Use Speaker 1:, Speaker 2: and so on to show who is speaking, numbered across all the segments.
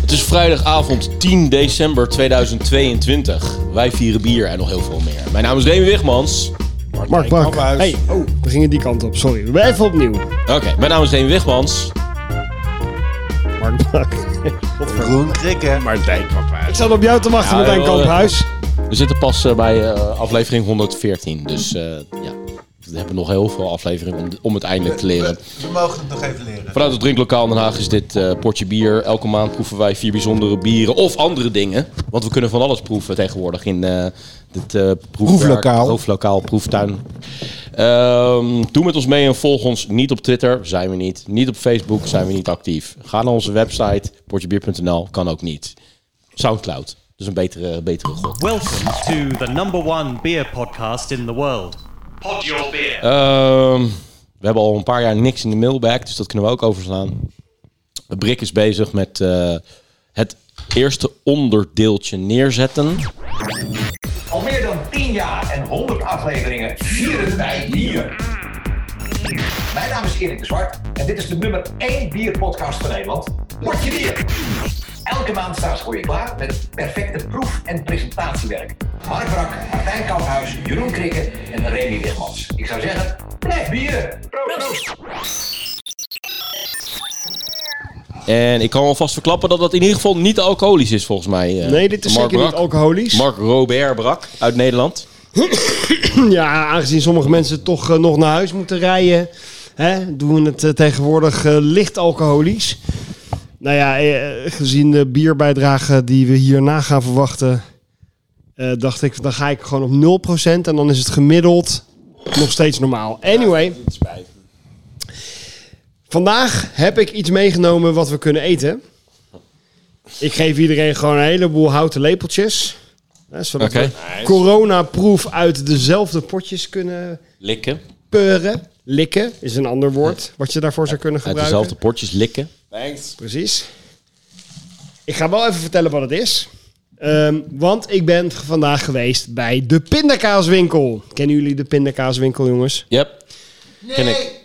Speaker 1: Het is vrijdagavond 10 december 2022. Wij vieren bier en nog heel veel meer. Mijn naam is Remy Wigmans.
Speaker 2: Mark Bak.
Speaker 3: Kamphuis.
Speaker 2: Hey, oh, we gingen die kant op. Sorry. We blijven opnieuw.
Speaker 1: Oké, mijn naam is Remy Wigmans.
Speaker 2: Mark Bak.
Speaker 3: Groen krikken. Maar
Speaker 2: Ik zat op jou te wachten
Speaker 1: Ja,
Speaker 2: met mijn
Speaker 1: joh, eh.
Speaker 2: kamphuis.
Speaker 1: We zitten pas eh, bij eh, aflevering 114. Dus eh, ja, we hebben nog heel veel afleveringen om, om het eindelijk te leren.
Speaker 3: we mogen het nog even leren.
Speaker 1: Vanuit het drinklokaal in Den Haag is dit eh, potje bier. Elke maand proeven wij vier bijzondere bieren of andere dingen. Want we kunnen van alles proeven tegenwoordig in eh dit eh proefwerk.
Speaker 3: Proeflokaal.
Speaker 1: Proeflokaal, proeftuin. Ehm, doe met ons mee en volg ons niet op Twitter, zijn we niet. Niet op Facebook, zijn we niet actief. Ga naar onze website, potjebier.nl, kan ook niet. Soundcloud, dat is een betere, betere god.
Speaker 4: Welcome to the number one beer podcast in the world. Pod your beer.
Speaker 1: Ehm, we hebben al een paar jaar niks in de mailbag, dus dat kunnen we ook overslaan. Brik is bezig met eh, het eerste onderdeeltje neerzetten.
Speaker 5: Al meer dan 10 jaar en 100 afleveringen vieren wij bier. Mijn naam is Erik de Zwart en dit is de nummer 1 bierpodcast van Nederland. Potje bier! Elke maand staan ze voor je klaar met het perfecte proef- en presentatiewerk. Mark Brak, Martijn Kamphuis, Jeroen Krikke en Remy Wigmans. Ik zou zeggen, blijf bieren! Proost!
Speaker 1: En ik kan alvast verklappen dat dat in ieder geval niet alcoholisch is, volgens mij. eh,
Speaker 2: Nee, dit is
Speaker 1: Mark
Speaker 2: zeker niet
Speaker 1: Brak.
Speaker 2: alcoholisch.
Speaker 1: Mark Robert Brak uit Nederland.
Speaker 2: Ja, aangezien sommige mensen toch eh, nog naar huis moeten rijden, hè, doen we het eh, tegenwoordig eh, licht alcoholisch. Nou ja, eh, gezien de bierbijdrage die we hierna gaan verwachten, eh, dacht ik, dan ga ik gewoon op 0% en dan is het gemiddeld nog steeds normaal. Anyway, vandaag heb ik iets meegenomen wat we kunnen eten. Ik geef iedereen gewoon een heleboel houten lepeltjes. Hè, zodat
Speaker 1: Oké.
Speaker 2: we coronaproof uit dezelfde potjes kunnen
Speaker 1: Likken.
Speaker 2: peuren. Likken is een ander woord wat je daarvoor zou kunnen
Speaker 1: Uit
Speaker 2: gebruiken.
Speaker 1: dezelfde potjes likken.
Speaker 3: Thanks.
Speaker 2: Precies. Ik ga wel even vertellen wat het is. Ehm, want ik ben vandaag geweest bij de pindakaaswinkel. Kennen jullie de pindakaaswinkel, jongens?
Speaker 1: Yep. Ken ik.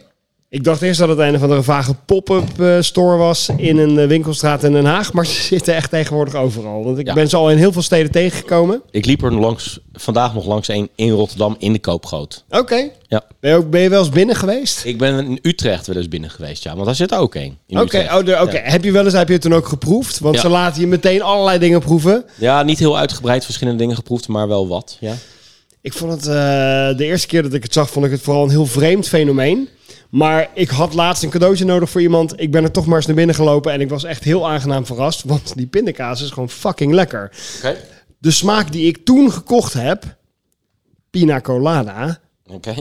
Speaker 2: Ik dacht eerst dat het een van de vage pop-up eh, store was in een eh, winkelstraat in Den Haag. Maar ze zitten echt tegenwoordig overal. Want ik
Speaker 1: Ja.
Speaker 2: ben ze al in heel veel steden tegengekomen.
Speaker 1: Ik liep er langs, vandaag nog langs een in Rotterdam in de koopgoot.
Speaker 2: Oké.
Speaker 1: Ja.
Speaker 2: Ben, je ook- ben je wel eens binnen geweest?
Speaker 1: Ik ben in Utrecht wel eens binnen geweest, ja. Want daar zit ook een. in
Speaker 2: Oké,
Speaker 1: Utrecht.
Speaker 2: oh, de- oké. heb je wel eens heb je het toen ook geproefd? Want
Speaker 1: Ja.
Speaker 2: ze laten je meteen allerlei dingen proeven.
Speaker 1: Ja, niet heel uitgebreid verschillende dingen geproefd, maar wel wat. Ja.
Speaker 2: Ik vond het eh, de eerste keer dat ik het zag, vond ik het vooral een heel vreemd fenomeen. Maar ik had laatst een cadeautje nodig voor iemand. Ik ben er toch maar eens naar binnen gelopen en ik was echt heel aangenaam verrast. Want die pindakaas is gewoon fucking lekker.
Speaker 1: Oké.
Speaker 2: De smaak die ik toen gekocht heb, pina colada,
Speaker 1: Oké.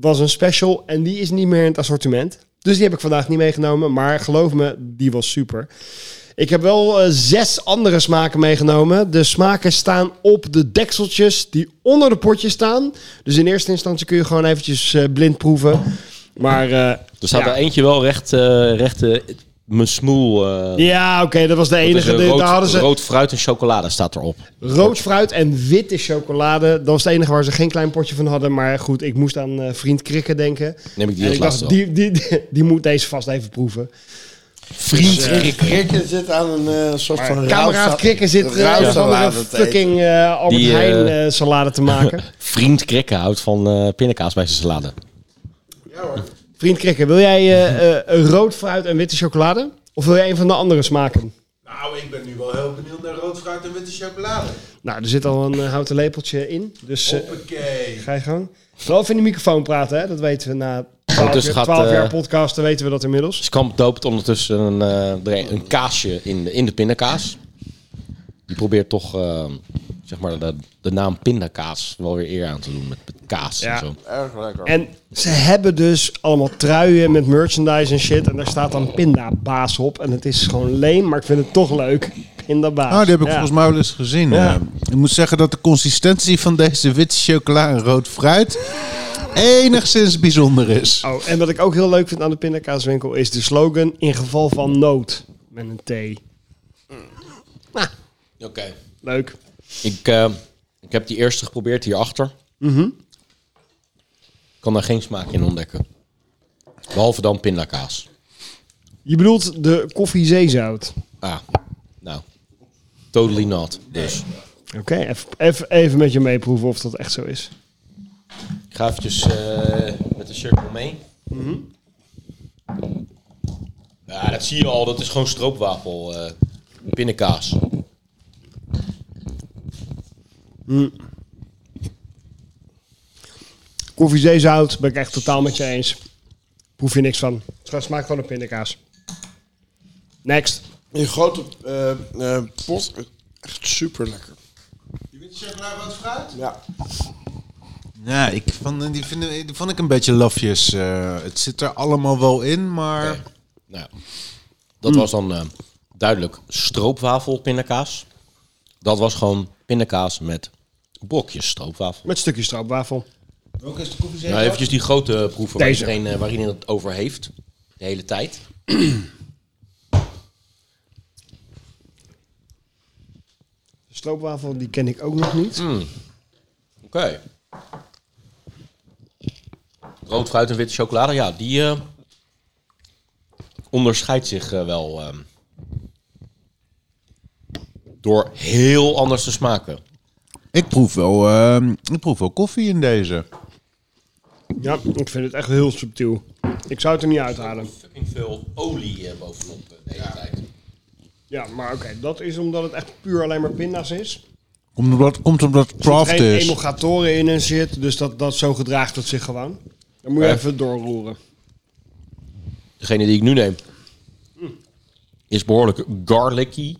Speaker 2: was een special en die is niet meer in het assortiment. Dus die heb ik vandaag niet meegenomen, maar geloof me, die was super. Ik heb wel eh, zes andere smaken meegenomen. De smaken staan op de dekseltjes die onder de potjes staan. Dus in eerste instantie kun je gewoon eventjes eh, blind proeven. Maar eh,
Speaker 1: Er staat
Speaker 2: ja.
Speaker 1: er eentje wel recht, eh recht eh, mijn smoel. eh,
Speaker 2: Ja, oké, dat was de
Speaker 1: dat is,
Speaker 2: enige.
Speaker 1: eh,
Speaker 2: De-
Speaker 1: rood,
Speaker 2: daar hadden ze rood.
Speaker 1: rood fruit en chocolade staat erop.
Speaker 2: fruit en witte chocolade. Dat was het enige waar ze geen klein potje van hadden. Maar goed, ik moest aan eh, vriend Krikke denken.
Speaker 1: Neem ik die
Speaker 2: en
Speaker 1: als
Speaker 2: ik
Speaker 1: laatste
Speaker 2: dacht,
Speaker 1: wel.
Speaker 2: die, die, die, die moet deze vast even proeven.
Speaker 1: Vriend.
Speaker 2: eh,
Speaker 3: Erik Krikken zit aan een eh, soort van
Speaker 2: Kameraad Krikken zit eh, een of andere fucking eh, Albert
Speaker 1: Die, eh,
Speaker 2: Heijn eh, salade te maken.
Speaker 1: Vriend Krikke houdt van eh pindakaas bij zijn salade.
Speaker 2: Vriend Krikken, wil jij eh, eh, rood fruit en witte chocolade? Of wil jij een van de andere smaken?
Speaker 6: Nou, ik ben nu wel heel benieuwd naar rood fruit en witte chocolade.
Speaker 2: Nou, er zit al een eh, houten lepeltje in. Dus eh,
Speaker 6: Hoppakee.
Speaker 2: ga je gang. Wel even in de microfoon praten, hè? dat weten we na 12,
Speaker 1: Ondertussen
Speaker 2: jaar,
Speaker 1: dus gaat,
Speaker 2: 12 jaar
Speaker 1: eh,
Speaker 2: podcast, dan weten we dat inmiddels.
Speaker 1: Skamp Dus doopt ondertussen een, eh, er een- een kaasje in de, in de pindakaas. Die probeert toch eh, zeg maar de, de naam pindakaas wel weer eer aan te doen met, met kaas en
Speaker 2: Ja.
Speaker 1: zo.
Speaker 3: Erg lekker.
Speaker 2: En ze hebben dus allemaal truien met merchandise en shit. En daar staat dan pindabaas op. En het is gewoon leem, maar ik vind het toch leuk. Pindabaas.
Speaker 6: Nou, die heb ik
Speaker 2: Ja.
Speaker 6: volgens mij wel eens gezien.
Speaker 2: Ja.
Speaker 6: Eh, ik moet zeggen dat de consistentie van deze witte chocola en rood fruit enigszins bijzonder is.
Speaker 2: Oh, en wat ik ook heel leuk vind aan de pindakaaswinkel is de slogan in geval van nood met een T.
Speaker 1: Oké.
Speaker 2: Leuk.
Speaker 1: Ik, eh, ik heb die eerste geprobeerd hierachter. Ik kan daar geen smaak in ontdekken. Behalve dan pindakaas.
Speaker 2: Je bedoelt de koffie zeezout.
Speaker 1: Ah, nou. Totally not. Dus
Speaker 2: Oké, even- even- even met je meeproeven of dat echt zo is.
Speaker 1: ik ga eventjes eh, met de cirkel mee. Ja, dat zie je al. Dat is gewoon stroopwafel. eh pindakaas.
Speaker 2: Koffie zeezout, ben ik echt totaal met je eens. Proef je niks van. Het smaakt gewoon een pindakaas. Next.
Speaker 3: Een grote eh, eh, pot. Echt super lekker.
Speaker 6: Je witte chocola rood fruit?
Speaker 3: Ja.
Speaker 6: Ja, ik vond, die, vind, die vond ik een beetje lafjes. eh. het zit er allemaal wel in, maar...
Speaker 1: Oké. Nou, ja. dat was dan eh, duidelijk stroopwafel pindakaas. Dat was gewoon pindakaas met brokjes stroopwafel.
Speaker 2: Met stukjes stroopwafel.
Speaker 6: Ook is de koffie
Speaker 1: Nou, eventjes die grote proeven waar
Speaker 2: Deze.
Speaker 1: iedereen, eh, waar iedereen het over heeft. De hele tijd.
Speaker 2: De stroopwafel, die ken ik ook nog niet.
Speaker 1: Oké. Rood fruit en witte chocolade, ja, die eh, onderscheidt zich eh, wel ehm, door heel anders te smaken.
Speaker 6: Ik proef, wel, ehm, ik proef wel koffie in deze.
Speaker 2: Ja, ik vind het echt heel subtiel. Ik zou het er niet uithalen.
Speaker 1: Fucking veel olie eh, bovenop eh, de hele tijd.
Speaker 2: Ja, maar oké, dat is omdat het echt puur alleen maar pinda's is.
Speaker 6: Komt omdat, komt omdat het
Speaker 2: Er
Speaker 6: craft
Speaker 2: zitten geen
Speaker 6: is.
Speaker 2: emulgatoren in en shit, dus dat, dat zo gedraagt het zich gewoon. Dan moet je
Speaker 1: Ja.
Speaker 2: even doorroeren.
Speaker 1: Degene die ik nu neem hm, is behoorlijk garlicky.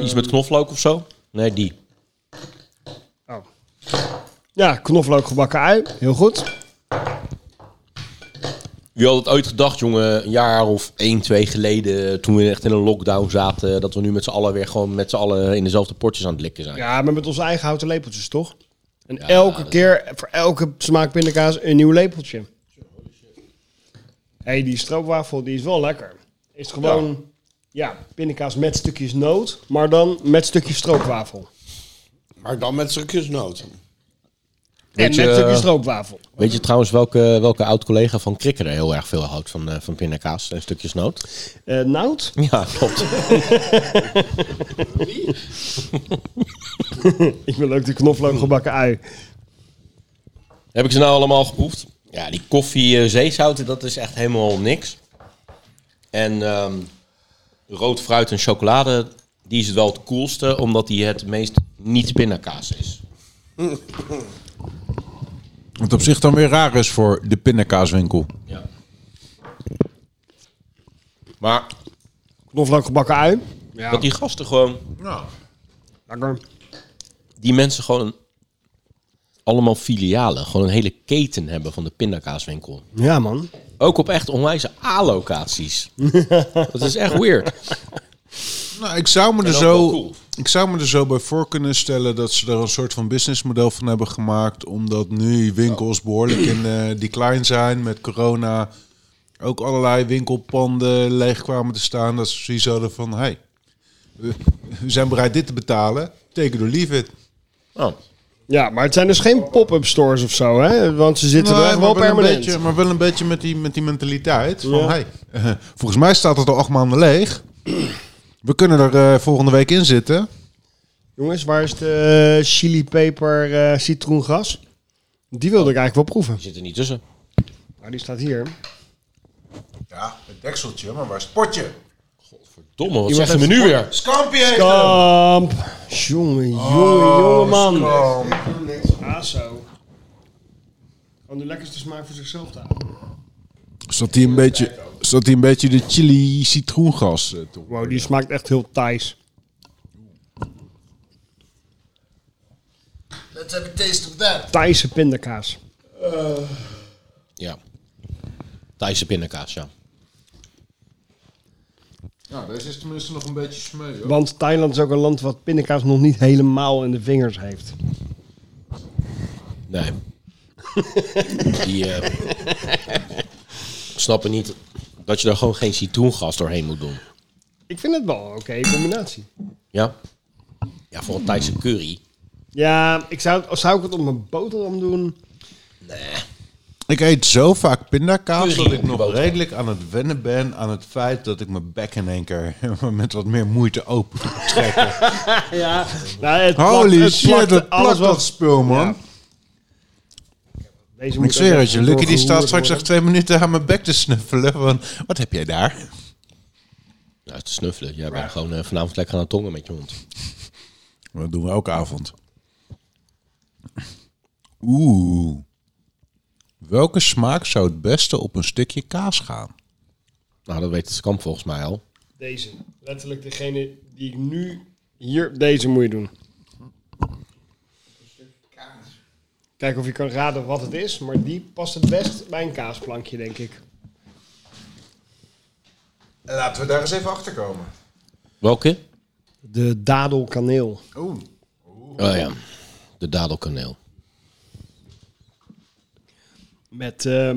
Speaker 1: Iets met knoflook of zo? Nee, die.
Speaker 2: Oh. Ja, knoflook gebakken ui. Heel goed.
Speaker 1: Wie had het ooit gedacht, jongen, een jaar of één, twee geleden, toen we echt in een lockdown zaten, dat we nu met z'n allen weer gewoon met z'n allen in dezelfde potjes aan het likken zijn.
Speaker 2: Ja, maar met onze eigen houten lepeltjes, toch? En elke keer, voor elke smaak pindakaas, een nieuw lepeltje. hey, die stroopwafel, die is wel lekker. Is gewoon, ja. pindakaas met stukjes noot, maar dan met stukjes stroopwafel.
Speaker 3: Maar dan met stukjes noot.
Speaker 1: Weet
Speaker 2: en
Speaker 1: je-
Speaker 2: met stukjes stroopwafel.
Speaker 1: Weet je trouwens welke, welke oud-collega van Krikkeren heel erg veel houdt van, eh, van pindakaas en stukjes noot?
Speaker 2: Eh nout?
Speaker 1: Ja, klopt.
Speaker 2: Ik wil ook die knoflook gebakken ui.
Speaker 1: Heb ik ze nou allemaal geproefd? Ja, die koffie eh, zeezouten, dat is echt helemaal niks. En ehm, rood fruit en chocolade, die is het wel het coolste, omdat die het meest niet pindakaas is.
Speaker 6: Wat op zich dan weer raar is voor de pindakaaswinkel.
Speaker 1: Ja. Maar
Speaker 2: Knoflook gebakken ui. Ja,
Speaker 1: dat die gasten gewoon,
Speaker 2: lekker.
Speaker 1: die mensen gewoon een- allemaal filialen, gewoon een hele keten hebben van de pindakaaswinkel.
Speaker 2: Ja, man.
Speaker 1: Ook op echt onwijze A-locaties. dat is echt weird.
Speaker 6: Nou, ik zou, me er
Speaker 1: ook
Speaker 6: zo,
Speaker 1: wel cool.
Speaker 6: ik zou me er zo bij voor kunnen stellen dat ze er een soort van businessmodel van hebben gemaakt. Omdat nu winkels behoorlijk in eh, decline zijn met corona. Ook allerlei winkelpanden leeg kwamen te staan. Dat ze zoiets hadden van, hé, hey, we we zijn bereid dit te betalen. Take it or leave it.
Speaker 1: Oh.
Speaker 2: Ja, maar het zijn dus geen pop-up stores of zo, hè? Want ze zitten er
Speaker 6: Nee,
Speaker 2: echt wel
Speaker 6: een
Speaker 2: permanent.
Speaker 6: beetje, maar wel een beetje met die, met die mentaliteit. Van,
Speaker 2: Ja.
Speaker 6: hey, eh, volgens mij staat het al acht maanden leeg. We kunnen er eh, volgende week in zitten.
Speaker 2: Jongens, waar is de eh, chili peper eh, citroengas? Die wilde ik eigenlijk wel proeven.
Speaker 1: Die zit er niet tussen.
Speaker 2: Nou, die staat hier.
Speaker 6: Ja, het dekseltje, maar waar is het potje?
Speaker 1: Domme, wat
Speaker 2: Iemand
Speaker 1: zegt hij me
Speaker 2: heeft-
Speaker 1: nu weer?
Speaker 6: Scampie heeft
Speaker 2: Kamp. Oh, Jongen, jongen, jongen, man. Aso. Gewoon de lekkerste smaak voor zichzelf daar.
Speaker 6: Zat hij een beetje, zat hij een beetje de chili citroengas eh, toe?
Speaker 2: Wow, die smaakt echt heel Thais.
Speaker 6: Let's have a taste of that.
Speaker 2: Thaise pindakaas.
Speaker 1: Ja. Thaise pindakaas, ja.
Speaker 6: Ja, deze is tenminste nog een beetje smeu. hoor.
Speaker 2: Want Thailand is ook een land wat pindakaas nog niet helemaal in de vingers heeft.
Speaker 1: Nee. Die eh, snappen niet dat je daar gewoon geen citroengas doorheen moet doen.
Speaker 2: Ik vind het wel een oké combinatie.
Speaker 1: Ja? Ja, voor een Thaise curry.
Speaker 2: Ja, ik zou, het- zou ik het op mijn boterham doen?
Speaker 6: Ik eet zo vaak pindakaas
Speaker 1: Curry
Speaker 6: dat ik
Speaker 1: op je
Speaker 6: nog
Speaker 1: boterham.
Speaker 6: redelijk aan het wennen ben aan het feit dat ik mijn bek in één keer met wat meer moeite open moet trekken.
Speaker 2: Ja, nou, het plakt-
Speaker 6: Holy
Speaker 2: het
Speaker 6: shit,
Speaker 2: plakt
Speaker 6: dat plakt
Speaker 2: alles wel.
Speaker 6: dat spul, man.
Speaker 2: Ja. Deze
Speaker 6: Ik
Speaker 2: moet
Speaker 6: zweer
Speaker 2: ook
Speaker 6: het je,
Speaker 2: echt
Speaker 6: Lucky die staat
Speaker 2: doorgeroerd
Speaker 6: straks echt
Speaker 2: worden.
Speaker 6: twee minuten aan mijn bek te snuffelen. Van, wat heb jij daar?
Speaker 1: Ja, Nou, te snuffelen. Jij bent gewoon eh, vanavond lekker aan het tongen met je hond.
Speaker 6: Dat doen we elke avond. Oeh. Welke smaak zou het beste op een stukje kaas gaan?
Speaker 1: Nou, dat weet het kamp volgens mij al.
Speaker 2: Deze. Letterlijk degene die ik nu hier... Deze moet je doen. Kijk of je kan raden wat het is, maar die past het best bij een kaasplankje, denk ik.
Speaker 6: Laten we daar eens even achter komen.
Speaker 1: Welke?
Speaker 2: De dadelkaneel.
Speaker 6: Oeh.
Speaker 1: Oh ja, de dadelkaneel.
Speaker 2: Met, eh,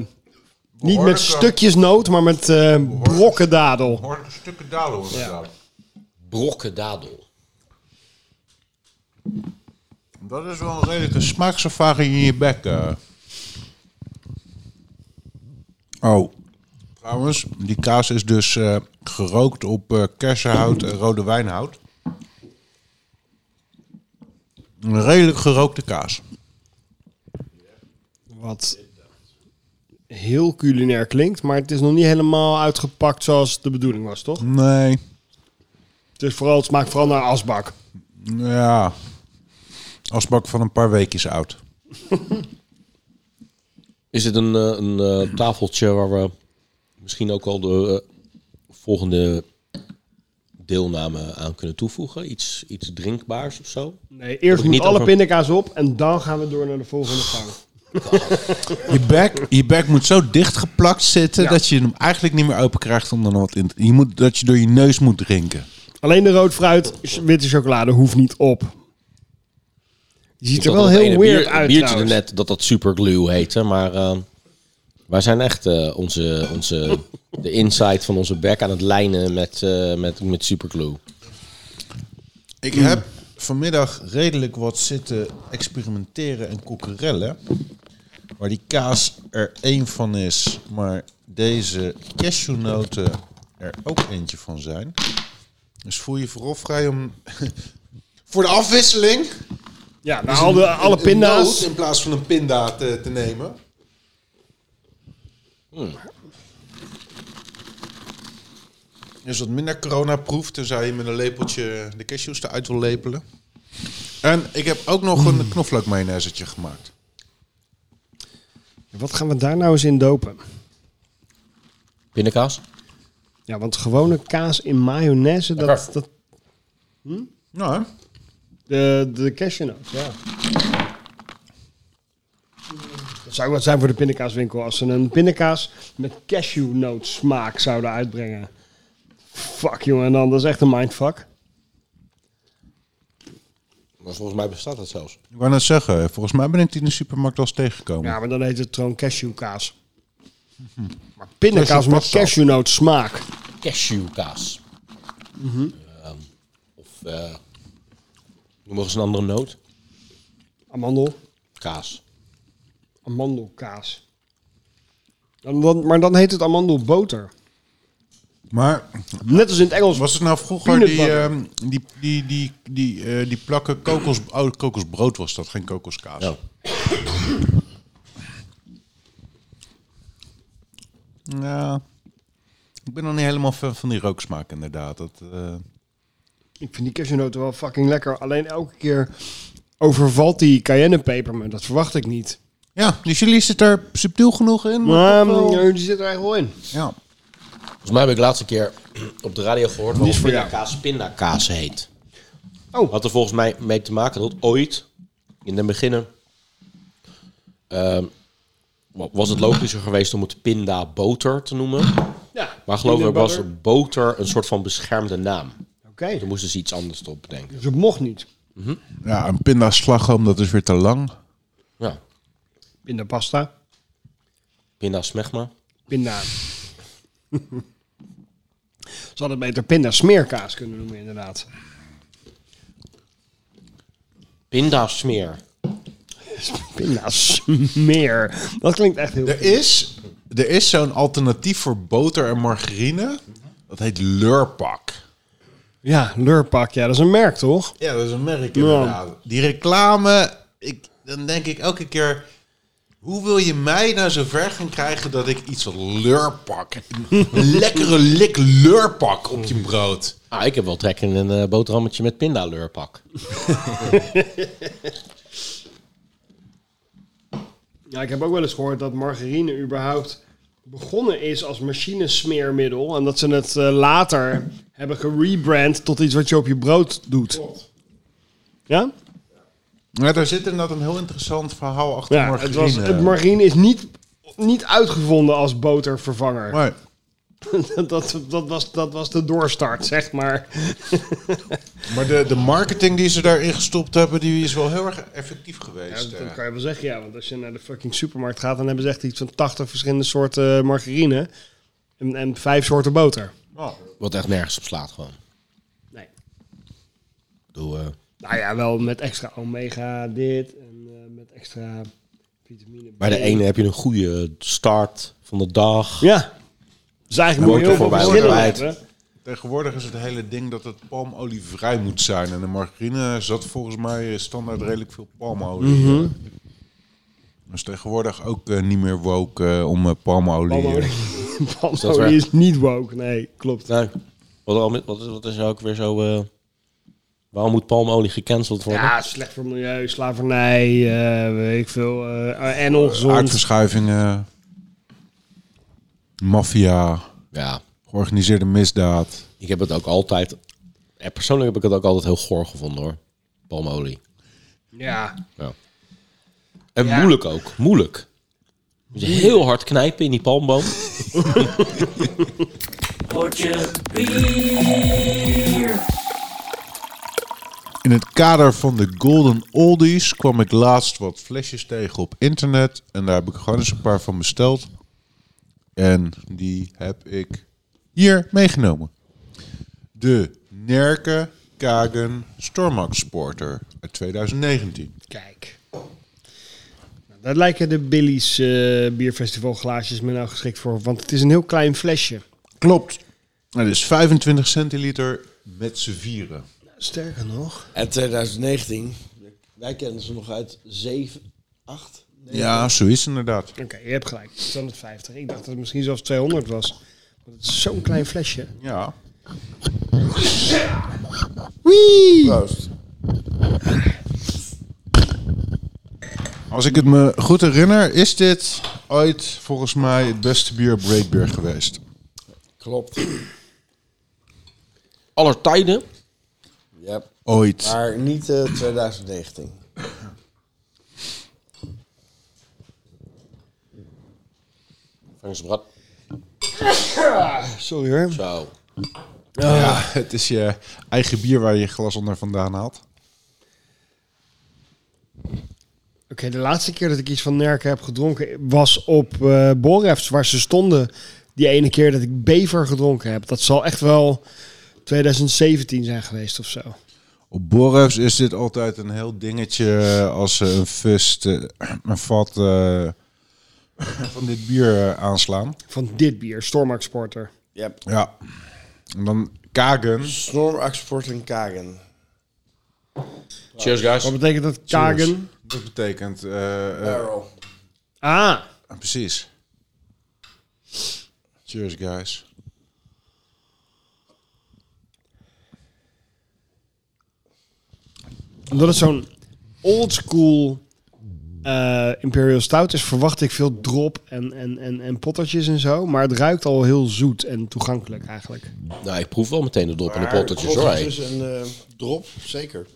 Speaker 2: niet met stukjes noot, maar met eh brokken dadel.
Speaker 6: Hoor stukken dalen hoor
Speaker 2: Ja.
Speaker 1: Brokken dadel.
Speaker 6: Dat is wel een redelijke smaakservaring in je bek. eh. Oh, trouwens, die kaas is dus eh, gerookt op eh, kersenhout en rode wijnhout. Een redelijk gerookte kaas.
Speaker 2: Wat heel culinair klinkt, maar het is nog niet helemaal uitgepakt zoals de bedoeling was, toch?
Speaker 6: Nee,
Speaker 2: Het, is vooral, het smaakt vooral naar asbak.
Speaker 6: ja. Asbak van een paar weekjes oud.
Speaker 1: Is het een, eh, een eh, tafeltje waar we misschien ook al de eh, volgende deelname aan kunnen toevoegen? Iets, iets drinkbaars of zo?
Speaker 2: Nee, eerst
Speaker 1: ik
Speaker 2: moet
Speaker 1: niet
Speaker 2: alle
Speaker 1: over-
Speaker 2: pindakaas op en dan gaan we door naar de volgende gang.
Speaker 6: Je bek, je bek moet zo dichtgeplakt zitten
Speaker 2: Ja.
Speaker 6: dat je hem eigenlijk niet meer open krijgt om er nog wat in te... Je moet, dat je door je neus moet drinken.
Speaker 2: Alleen de rood fruit, ch- witte chocolade hoeft niet op. Je ziet er
Speaker 1: Ik
Speaker 2: wel
Speaker 1: had dat
Speaker 2: heel
Speaker 1: ene
Speaker 2: weird
Speaker 1: bier-
Speaker 2: uit
Speaker 1: biertje er
Speaker 2: trouwens.
Speaker 1: net dat dat superglue heette, maar eh, wij zijn echt eh, onze, onze, de inside van onze bek aan het lijnen met, eh, met, met superglue.
Speaker 6: Ik heb vanmiddag redelijk wat zitten experimenteren en kokerellen. Waar die kaas er één van is, maar deze cashewnoten er ook eentje van zijn. Dus voel je vooral vrij om... Voor de afwisseling...
Speaker 2: Ja, nou, alle, alle
Speaker 6: een- een
Speaker 2: pinda's.
Speaker 6: noot in plaats van een pinda te, te nemen. Is wat minder coronaproof, tenzij je met een lepeltje de cashews eruit wil lepelen. En ik heb ook nog
Speaker 2: Hmm.
Speaker 6: een knoflook mayonaisetje gemaakt.
Speaker 2: Wat gaan we daar nou eens in dopen?
Speaker 1: Pindakaas?
Speaker 2: Ja, want gewone kaas in mayonaise, dat,
Speaker 1: Lekker.
Speaker 2: dat
Speaker 6: Nou, hè?
Speaker 2: de, de cashewnoot, ja. Dat zou wat zijn voor de pindakaaswinkel als ze een pindakaas met cashewnoot smaak zouden uitbrengen. Fuck jongen, dan, dat is echt een mindfuck.
Speaker 1: Maar volgens mij bestaat dat zelfs.
Speaker 6: ik wou net zeggen, volgens mij ben ik die in de supermarkt al eens tegengekomen.
Speaker 2: Ja, maar dan heet het gewoon cashewkaas. Maar pindakaas met
Speaker 6: Cashewpasta.
Speaker 2: cashewnoot smaak.
Speaker 1: Cashewkaas.
Speaker 2: Mhm.
Speaker 1: Ehm, of eh noem nog eens een andere noot.
Speaker 2: Amandel.
Speaker 1: Kaas.
Speaker 2: Amandelkaas. Dan, dan, maar dan heet het amandelboter.
Speaker 6: Maar
Speaker 2: Net als in het Engels.
Speaker 6: was het nou vroeger
Speaker 2: Peanut
Speaker 6: die,
Speaker 2: butter.
Speaker 6: ehm, die, die, die, die, eh, die plakken kokos, oh, kokosbrood was dat, geen kokoskaas.
Speaker 1: Ja.
Speaker 6: Ja. Ik ben nog niet helemaal fan van die rooksmaak, inderdaad. Dat, eh,
Speaker 2: Ik vind die cashewnoten wel fucking lekker. Alleen elke keer overvalt die cayennepeper me. Dat verwacht ik niet.
Speaker 6: Ja, die chili zit er subtiel genoeg in.
Speaker 2: Maar
Speaker 6: maar toch wel-
Speaker 2: eh, die zit er echt wel in.
Speaker 6: Ehm, ja.
Speaker 1: Volgens mij heb ik laatst een keer op de radio gehoord
Speaker 2: Die is
Speaker 1: waarom
Speaker 2: voor jou.
Speaker 1: pindakaas pindakaas heet.
Speaker 2: Oh.
Speaker 1: Had er volgens mij mee te maken dat ooit, in de beginnen, ehm, wa- was het logischer geweest om het pinda boter te noemen.
Speaker 2: Ja.
Speaker 1: Maar geloof ik
Speaker 2: Peanut
Speaker 1: was
Speaker 2: butter.
Speaker 1: boter een soort van beschermde naam.
Speaker 2: Oké.
Speaker 1: Toen moesten ze iets anders op bedenken.
Speaker 2: Dus het mocht niet.
Speaker 6: ja, een pindaslagroom, dat is weer te lang.
Speaker 1: Ja,
Speaker 2: Pindapasta.
Speaker 1: pinda smegma.
Speaker 2: Pinda. Ze hadden beter pindasmeerkaas kunnen noemen, inderdaad.
Speaker 1: Pinda smeer.
Speaker 2: Pindasmeer. Dat klinkt echt heel
Speaker 6: Er is, er is zo'n alternatief voor boter en margarine. Dat heet Lurpak.
Speaker 2: Ja, Lurpak. Ja, dat is een merk, toch?
Speaker 6: Ja, dat is een merk inderdaad. Die reclame, ik, dan denk ik elke keer... Hoe wil je mij nou zo ver gaan krijgen dat ik iets lurpak... Een lekkere lik lurpak op je brood.
Speaker 1: Ah, ik heb wel trek in een eh, boterhammetje met pindaleurpak.
Speaker 2: Ja, ik heb ook wel eens gehoord dat margarine überhaupt begonnen is als machinesmeermiddel. En dat ze het eh, later hebben gerebrand tot iets wat je op je brood doet. Ja?
Speaker 6: Ja, daar zit inderdaad een heel interessant verhaal achter
Speaker 2: Ja,
Speaker 6: margarine. Eh,
Speaker 2: het, was, het margarine is niet, niet uitgevonden als botervervanger.
Speaker 6: Maar
Speaker 2: dat, dat, dat, was, dat was de doorstart, zeg maar.
Speaker 6: maar de, de marketing die ze daarin gestopt hebben, die is wel heel erg effectief geweest.
Speaker 2: dat
Speaker 6: eh.
Speaker 2: kan je wel zeggen, ja. Want als je naar de fucking supermarkt gaat, dan hebben ze echt iets van 80 verschillende soorten margarine. En, en vijf soorten boter.
Speaker 6: Nou,
Speaker 1: Wat echt nergens op slaat gewoon.
Speaker 2: Nee.
Speaker 1: Ik bedoel, eh,
Speaker 2: Nou ja, wel met extra omega dit en eh, met extra vitamine B.
Speaker 1: bij de ene heb je een goede start van de dag.
Speaker 2: Ja. Dus eigenlijk moet je heel veel
Speaker 1: Boter
Speaker 2: verschillen
Speaker 1: voorbij.
Speaker 2: hebben.
Speaker 6: Tegenwoordig is het hele ding dat het palmolievrij moet zijn. En de margarine zat volgens mij standaard redelijk veel palmolie. Dus tegenwoordig ook eh, niet meer woke eh, om eh, palmolie.
Speaker 2: Palmolie.
Speaker 6: eh.
Speaker 1: dat
Speaker 2: Palmolie
Speaker 1: waar?
Speaker 2: is niet woke, nee, klopt.
Speaker 1: Nee. Wat, al met- wat, is- wat is er ook weer zo... eh, waarom moet palmolie gecanceld worden?
Speaker 2: Ja, Ah, slecht voor het milieu, slavernij, eh, weet ik veel. eh, en ongezond.
Speaker 6: Aardverschuivingen, maffia,
Speaker 1: ja.
Speaker 6: georganiseerde misdaad.
Speaker 1: Ik heb het ook altijd... eh, persoonlijk heb ik het ook altijd heel goor gevonden hoor. Palmolie.
Speaker 2: Ja.
Speaker 1: Ja. En moeilijk ook. Moeilijk. Moet je heel hard knijpen in die palmboom.
Speaker 6: In het kader van de Golden Oldies kwam ik laatst wat flesjes tegen op internet. En daar heb ik gewoon eens een paar van besteld. En die heb ik hier meegenomen. De Nerke Kagen Stormax Sporter uit 2019.
Speaker 2: Kijk. Nou, Daar lijken de Billy's eh bierfestivalglaasjes me nou geschikt voor, want het is een heel klein flesje.
Speaker 6: Klopt. Het is 25 centiliter met z'n vieren.
Speaker 2: Sterker nog.
Speaker 3: En 2019, wij kennen ze nog uit 7, 8.
Speaker 6: Ja, zo is het inderdaad.
Speaker 2: Oké, je hebt gelijk. 250. Ik dacht dat het misschien zelfs 200 was. Want het is zo'n klein flesje.
Speaker 6: Ja.
Speaker 3: Proost.
Speaker 6: Als ik het me goed herinner, is dit ooit volgens mij het beste bier Breedbeer geweest.
Speaker 3: Klopt.
Speaker 1: Aller tijden.
Speaker 3: Ja.
Speaker 6: Ooit.
Speaker 3: Maar niet eh, 2019.
Speaker 1: Franse Brad.
Speaker 2: Sorry hoor.
Speaker 1: Zo.
Speaker 6: Ja, het is je eigen bier waar je je glas onder vandaan haalt.
Speaker 2: Oké, de laatste keer dat ik iets van Nerken heb gedronken was op eh Borefs, waar ze stonden. Die ene keer dat ik Bever gedronken heb. Dat zal echt wel 2017 zijn geweest of zo.
Speaker 6: Op Borrefs is dit altijd een heel dingetje als ze een fust, eh, een vat eh, van dit bier eh, aanslaan.
Speaker 2: Van dit bier, Stormark Porter.
Speaker 3: Ja.
Speaker 6: Ja. En dan Kagen.
Speaker 3: Snormaxport en Kagen.
Speaker 1: Cheers guys.
Speaker 2: Wat betekent dat? Kagen?
Speaker 6: Dat betekent... eh, eh,
Speaker 3: Barrel.
Speaker 2: Ah,
Speaker 6: precies. Cheers, guys.
Speaker 2: omdat het zo'n oldschool eh Imperial Stout is, verwacht ik veel drop en, en, en, en pottertjes en zo. Maar het ruikt al heel zoet en toegankelijk eigenlijk.
Speaker 1: Nou, ik proef wel meteen de dop en de pottetjes hoor. hey.
Speaker 3: Pottetjes en eh, drop, zeker.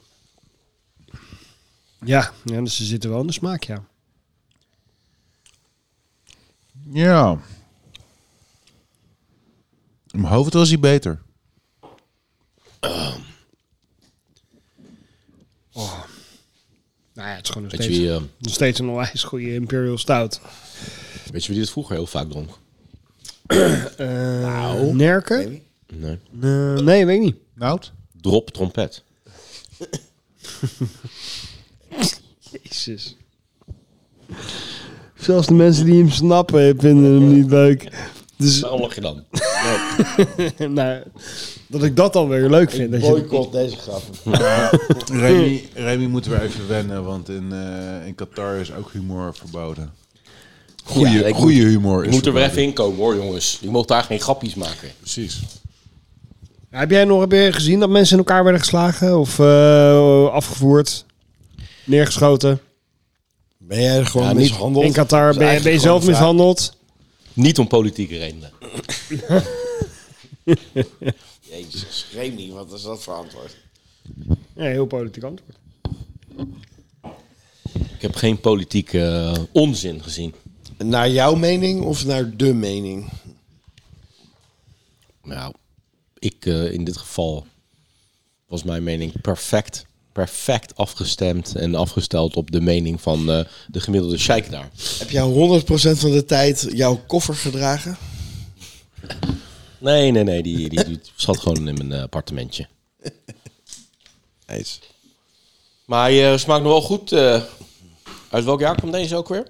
Speaker 2: Ja, ja dus ze zitten wel in de smaak, ja.
Speaker 6: Ja. In mijn hoofd was hij beter.
Speaker 2: Nou ja, het is gewoon nog
Speaker 1: Weet je
Speaker 2: steeds,
Speaker 1: wie, eh,
Speaker 2: nog steeds een onwijs goede Imperial Stout.
Speaker 1: Weet je wie dit vroeger heel vaak dronk?
Speaker 2: Eh, Nerken?
Speaker 3: Maybe.
Speaker 1: Nee.
Speaker 2: Eh, nee, weet ik niet.
Speaker 6: Nout?
Speaker 1: Drop trompet.
Speaker 2: Jezus. Zelfs de mensen die hem snappen eh, vinden hem niet leuk. Dus
Speaker 1: Waarom lach je dan?
Speaker 2: nou, dat ik dat dan weer leuk vind. Dat je,
Speaker 3: Boycott deze grappen.
Speaker 6: Remy, Remy moeten we even wennen, want in, eh, in Qatar is ook humor verboden. Goeie,
Speaker 1: Ja, ik
Speaker 6: goeie humor is
Speaker 1: Moet er weer
Speaker 6: verboden.
Speaker 1: even inkomen hoor, jongens. Je mag daar geen grapjes maken.
Speaker 6: Precies.
Speaker 2: heb jij nog heb jij gezien dat mensen in elkaar werden geslagen of eh, afgevoerd, neergeschoten?
Speaker 3: Ben jij er gewoon
Speaker 1: Ja, niet-
Speaker 3: mishandeld?
Speaker 2: In Qatar
Speaker 3: Dat is
Speaker 2: ben je, ben je
Speaker 3: eigenlijk
Speaker 2: zelf
Speaker 3: gewoon een
Speaker 2: mishandeld?
Speaker 1: Niet om politieke redenen.
Speaker 3: vraag. Jezus, Remy, wat is dat voor antwoord?
Speaker 2: Ja, heel politiek antwoord.
Speaker 1: Ik heb geen politieke eh, onzin gezien.
Speaker 3: Naar jouw mening of naar de mening?
Speaker 1: Nou, ik eh, in dit geval was mijn mening perfect. Perfect afgestemd en afgesteld op de mening van eh, de gemiddelde sheik daar.
Speaker 3: Heb jij 100% van de tijd jouw koffer gedragen?
Speaker 1: Nee, nee, nee, die, die, die zat gewoon in mijn eh, appartementje.
Speaker 3: Eens.
Speaker 1: Maar hij eh, smaakt nog wel goed. eh. uit welk jaar kwam deze ook weer?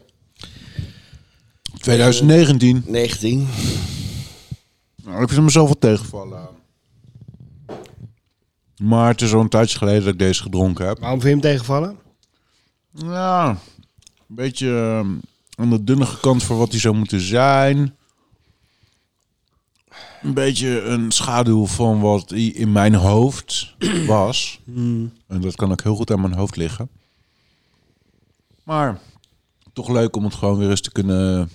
Speaker 6: 2019.
Speaker 3: 19.
Speaker 6: Nou, ik vind hem zoveel tegenvallen. Maar het is al een tijdje geleden dat ik deze gedronken heb.
Speaker 2: Waarom vind je hem tegenvallen?
Speaker 6: Ja, een beetje ehm, aan de dunnige kant voor wat hij zou moeten zijn. Een beetje een schaduw van wat hij in mijn hoofd was. En dat kan ook heel goed aan mijn hoofd liggen. Maar toch leuk om het gewoon weer eens te kunnen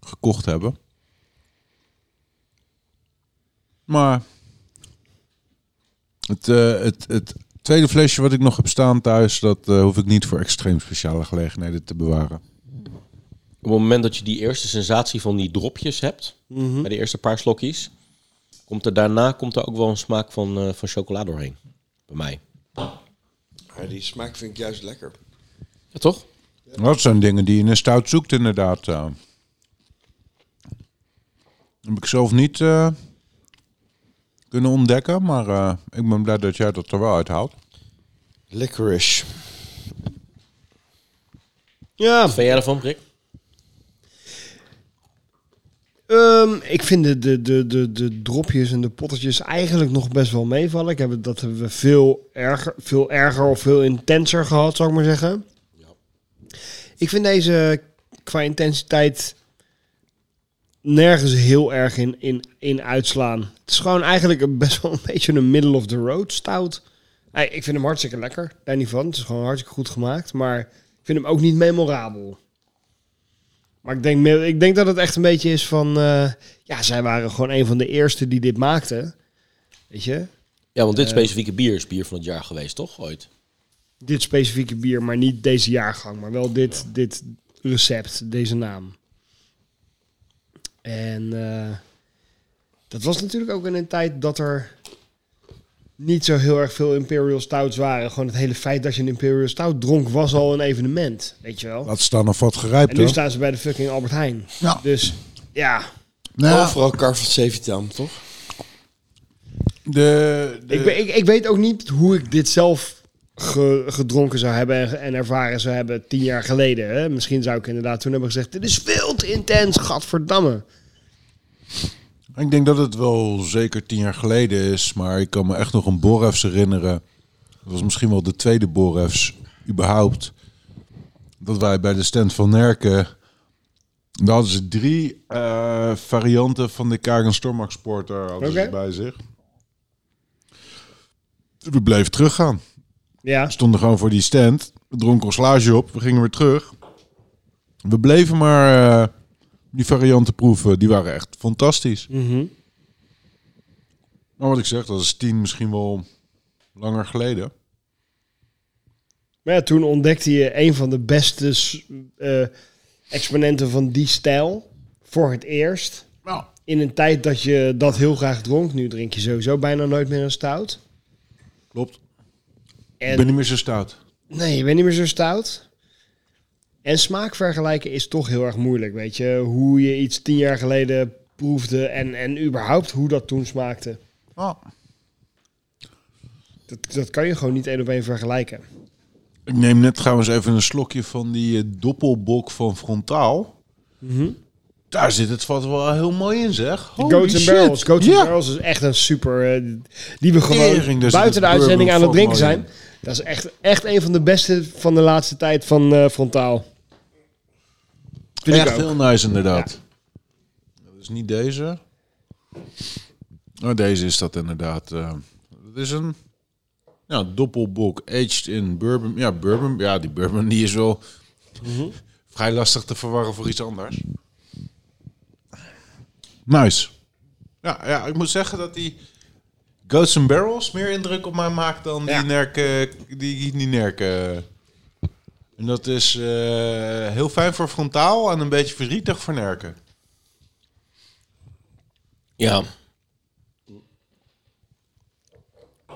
Speaker 6: gekocht hebben. Maar het, eh, het, het tweede flesje wat ik nog heb staan thuis, dat eh, hoef ik niet voor extreem speciale gelegenheden te bewaren.
Speaker 1: Op het moment dat je die eerste sensatie van die dropjes hebt, bij de eerste paar slokjes, komt er daarna komt er ook wel een smaak van, eh, van chocola doorheen. Bij mij.
Speaker 3: Maar die smaak vind ik juist lekker.
Speaker 1: Ja, toch?
Speaker 6: Dat zijn dingen die je in een stout zoekt, inderdaad. eh. heb ik zelf niet eh, kunnen ontdekken, maar eh, ik ben blij dat jij dat er wel uithaalt.
Speaker 3: Licorice.
Speaker 2: Ja,
Speaker 1: Wat vind jij ervan, Rick?
Speaker 2: Ehm, ik vind de, de, de, de, de dropjes en de pottetjes eigenlijk nog best wel meevallen. Ik heb, het- dat hebben we veel erger, veel erger of veel intenser gehad, zou ik maar zeggen. Ik vind deze qua intensiteit nergens heel erg in, in, in uitslaan. Het is gewoon eigenlijk een- best wel een beetje een middle of the road stout. Hey, Ik vind hem hartstikke lekker, daar niet van. Het is gewoon hartstikke goed gemaakt, maar ik vind hem ook niet memorabel. Maar ik denk, meer- ik denk dat het echt een beetje is van... eh, ja, zij waren gewoon een van de eerste die dit maakten. Weet je?
Speaker 1: Ja, want dit specifieke bier is bier van het jaar geweest, toch? Ooit.
Speaker 2: Dit specifieke bier, maar niet deze jaargang. Maar wel dit, dit recept, deze naam. En eh, dat was natuurlijk ook in een tijd dat er niet zo heel erg veel Imperial Stouts waren. Gewoon het hele feit dat je een Imperial Stout dronk was al een evenement. Weet je wel?
Speaker 6: Laat staan of wat
Speaker 2: En
Speaker 6: gerijpt
Speaker 2: nu
Speaker 6: hoor.
Speaker 2: staan ze bij de fucking Albert Heijn.
Speaker 6: Ja.
Speaker 2: Dus ja,
Speaker 6: Nou,
Speaker 3: Overal kar van Sevitam, toch?
Speaker 6: de, de-
Speaker 2: Ik, we- ik, ik weet ook niet hoe ik dit zelf ge- gedronken zou hebben en, en ervaren zou hebben tien jaar geleden. Hè? Misschien zou ik inderdaad toen hebben gezegd: Dit is veel te intens, gadverdamme.
Speaker 6: Ik denk dat het wel zeker tien jaar geleden is, maar ik kan me echt nog een Borrefs herinneren. Dat was misschien wel de tweede Borrefs überhaupt. Dat wij bij de stand van Nerken, daar hadden ze drie eh, varianten van de Kagen Stormax Porter hadden
Speaker 2: Oké.
Speaker 6: ze bij zich. We bleven teruggaan.
Speaker 2: Ja,
Speaker 6: We stonden gewoon voor die stand. We dronken ons slaasje op. We gingen weer terug. We bleven maar eh, die varianten proeven. Die waren echt fantastisch.
Speaker 2: Mhm.
Speaker 6: Maar wat ik zeg, dat is tien, misschien wel langer geleden.
Speaker 2: maar ja, toen ontdekte je een van de beste s- eh, exponenten van die stijl voor het eerst.
Speaker 6: Nou,
Speaker 2: In een tijd dat je dat heel graag dronk. Nu drink je sowieso bijna nooit meer een stout.
Speaker 6: klopt. Ik
Speaker 2: En
Speaker 6: ben niet meer zo stout.
Speaker 2: Nee, je bent niet meer zo stout. En smaak vergelijken is toch heel erg moeilijk, weet je. Hoe je iets tien jaar geleden proefde en, en überhaupt hoe dat toen smaakte.
Speaker 6: Ah,
Speaker 2: Nou. Dat, dat kan je gewoon niet één op één vergelijken.
Speaker 6: Ik neem net trouwens even een slokje van die eh, doppelbok van Frontaal. Daar zit het vat wel heel mooi in, zeg.
Speaker 2: De
Speaker 6: Holy
Speaker 2: Mhm. Goats and
Speaker 6: shit.
Speaker 2: Barrels. Goats and
Speaker 6: ja.
Speaker 2: Barrels is echt een super... eh, die we gewoon
Speaker 6: Tering, dus
Speaker 2: buiten de
Speaker 6: het
Speaker 2: uitzending
Speaker 6: bourbon
Speaker 2: aan het drinken
Speaker 6: van
Speaker 2: zijn. Dat is echt, echt een van de beste van de laatste tijd van eh, Frontaal. Vind ik
Speaker 6: Echt
Speaker 2: ook.
Speaker 6: heel nice, inderdaad. Nou, Dat is niet deze. Oh, deze is dat inderdaad. eh. Het is een ja, doppelbok aged in bourbon. Ja, bourbon. Ja, die bourbon die is wel
Speaker 2: Mhm.
Speaker 6: vrij lastig te verwarren voor iets anders. Nice. Ja, ja, ik moet zeggen dat die Goats and Barrels meer indruk op mij maakt dan die nerken. Die, die nerken. En dat is eh, heel fijn voor frontaal en een beetje verdrietig voor nerken.
Speaker 1: Ja.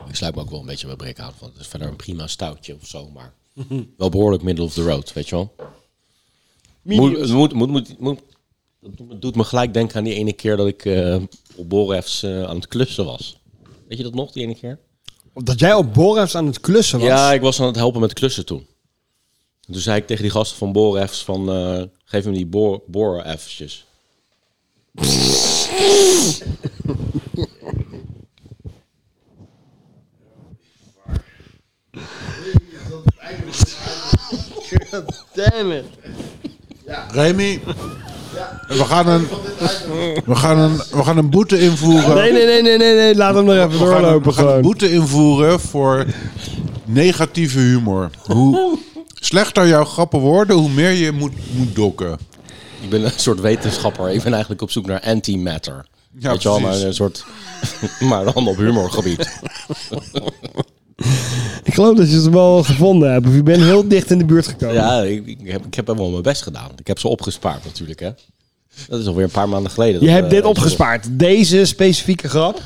Speaker 1: Ik sluit me ook wel een beetje bij brek aan. Want het is verder een prima stoutje of zo. Maar wel behoorlijk middle of the road, weet je wel. Moet, het moet, moet, moet, moet- dat doet me- doet me gelijk denken aan die ene keer dat ik eh, op Borefs eh, aan het klussen was. Weet je dat nog, die ene keer?
Speaker 2: Dat jij op Borefs aan het klussen was.
Speaker 1: Ja, ik was aan het helpen met klussen toen. En toen zei ik tegen die gasten van Borefs van... eh, geef hem die boor, boor eventjes.
Speaker 2: Damn it.
Speaker 6: Remy, we, gaan een, we, gaan een, we gaan een boete invoeren.
Speaker 2: Nee, nee, nee, nee, nee, nee. Laat hem nog even
Speaker 6: we gaan, een, we
Speaker 2: doorlopen
Speaker 6: gaan een
Speaker 2: gewoon.
Speaker 6: boete invoeren voor negatieve humor. Hoe slechter jouw grappen worden, hoe meer je moet, moet dokken.
Speaker 1: Ik ben een soort wetenschapper. Ik ben eigenlijk op zoek naar antimatter.
Speaker 6: Ja,
Speaker 1: Weet je wel, maar
Speaker 6: precies.
Speaker 1: een soort... maar dan op humorgebied.
Speaker 2: Ik geloof dat je ze wel gevonden hebt. Of je bent heel dicht in de buurt gekomen.
Speaker 1: Ja, ik, ik heb, ik heb wel mijn best gedaan. Ik heb ze opgespaard natuurlijk, hè. Dat is alweer een paar maanden geleden.
Speaker 2: Je
Speaker 1: dat,
Speaker 2: hebt
Speaker 1: eh,
Speaker 2: dit
Speaker 1: dat-
Speaker 2: opgespaard. Deze specifieke grap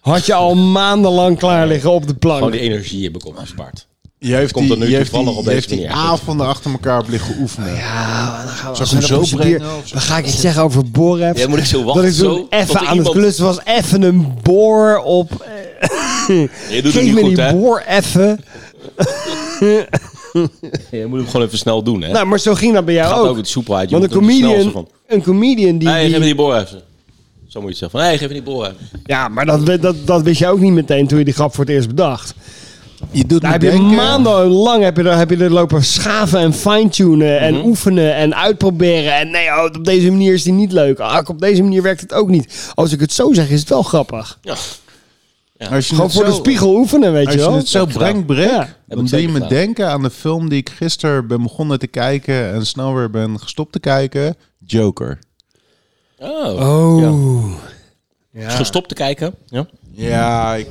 Speaker 2: had je al maandenlang klaar liggen op de
Speaker 1: Gewoon Oh, die
Speaker 2: plank.
Speaker 1: energie heb ik opgespaard.
Speaker 6: Je heeft
Speaker 1: Komt
Speaker 6: die,
Speaker 1: er nu
Speaker 6: je heeft die,
Speaker 1: toevallig op
Speaker 6: je heeft
Speaker 1: deze
Speaker 6: die
Speaker 1: manier.
Speaker 6: avonden achter elkaar op liggen oefenen.
Speaker 2: Ja, dan gaan we
Speaker 6: Zou ik hem zo brengen? of zo?
Speaker 2: Dan ga ik iets zeggen over boorhefs.
Speaker 1: Ja, moet ik zo wachten,
Speaker 2: Dat ik
Speaker 1: zo,
Speaker 2: toen
Speaker 1: tot
Speaker 2: even
Speaker 1: er
Speaker 2: aan het
Speaker 1: iemand-
Speaker 2: klussen was. Even een boor op.
Speaker 1: Je doet het
Speaker 2: Geef
Speaker 1: niet
Speaker 2: me
Speaker 1: goed,
Speaker 2: die
Speaker 1: hè.
Speaker 2: boor even.
Speaker 1: Je moet hem gewoon even snel doen, hè.
Speaker 2: Nou, maar zo ging dat bij jou
Speaker 1: Gaat ook
Speaker 2: ook.
Speaker 1: het soepel uit. Je
Speaker 2: Want een
Speaker 1: moet er snel
Speaker 2: comedian,
Speaker 1: van.
Speaker 2: een comedian die...
Speaker 1: Hé, hey,
Speaker 2: die-
Speaker 1: geef me die boor even. Zo moet je het zeggen. Van, hé, hey, geef me die boor even.
Speaker 2: ja, maar dat, we- dat, dat wist je ook niet meteen toen je die grap voor het eerst bedacht.
Speaker 6: Je doet
Speaker 2: Daar
Speaker 6: me
Speaker 2: Nou, heb je
Speaker 6: denken-
Speaker 2: maandenlang heb je, er- heb je er lopen schaven en fine-tunen en oefenen en uitproberen. En nee, oh, op deze manier is die niet leuk. Ah, op deze manier werkt het ook niet. Als ik het zo zeg, is het wel grappig.
Speaker 1: Ja.
Speaker 6: Als je
Speaker 2: Gewoon
Speaker 6: het
Speaker 2: voor de
Speaker 6: zo-
Speaker 2: spiegel oefenen, weet
Speaker 6: Als
Speaker 2: je
Speaker 6: je
Speaker 2: wel.
Speaker 6: het zo brengt, Brek,
Speaker 2: Ja.
Speaker 1: ik
Speaker 6: dan doe je
Speaker 1: zeker
Speaker 6: me
Speaker 1: gedaan.
Speaker 6: denken aan de film die ik gisteren ben begonnen te kijken en snel weer ben gestopt te kijken. Joker.
Speaker 1: Oh.
Speaker 2: Oh.
Speaker 1: Is Gestopt te kijken. Ja.
Speaker 6: Ja, ik,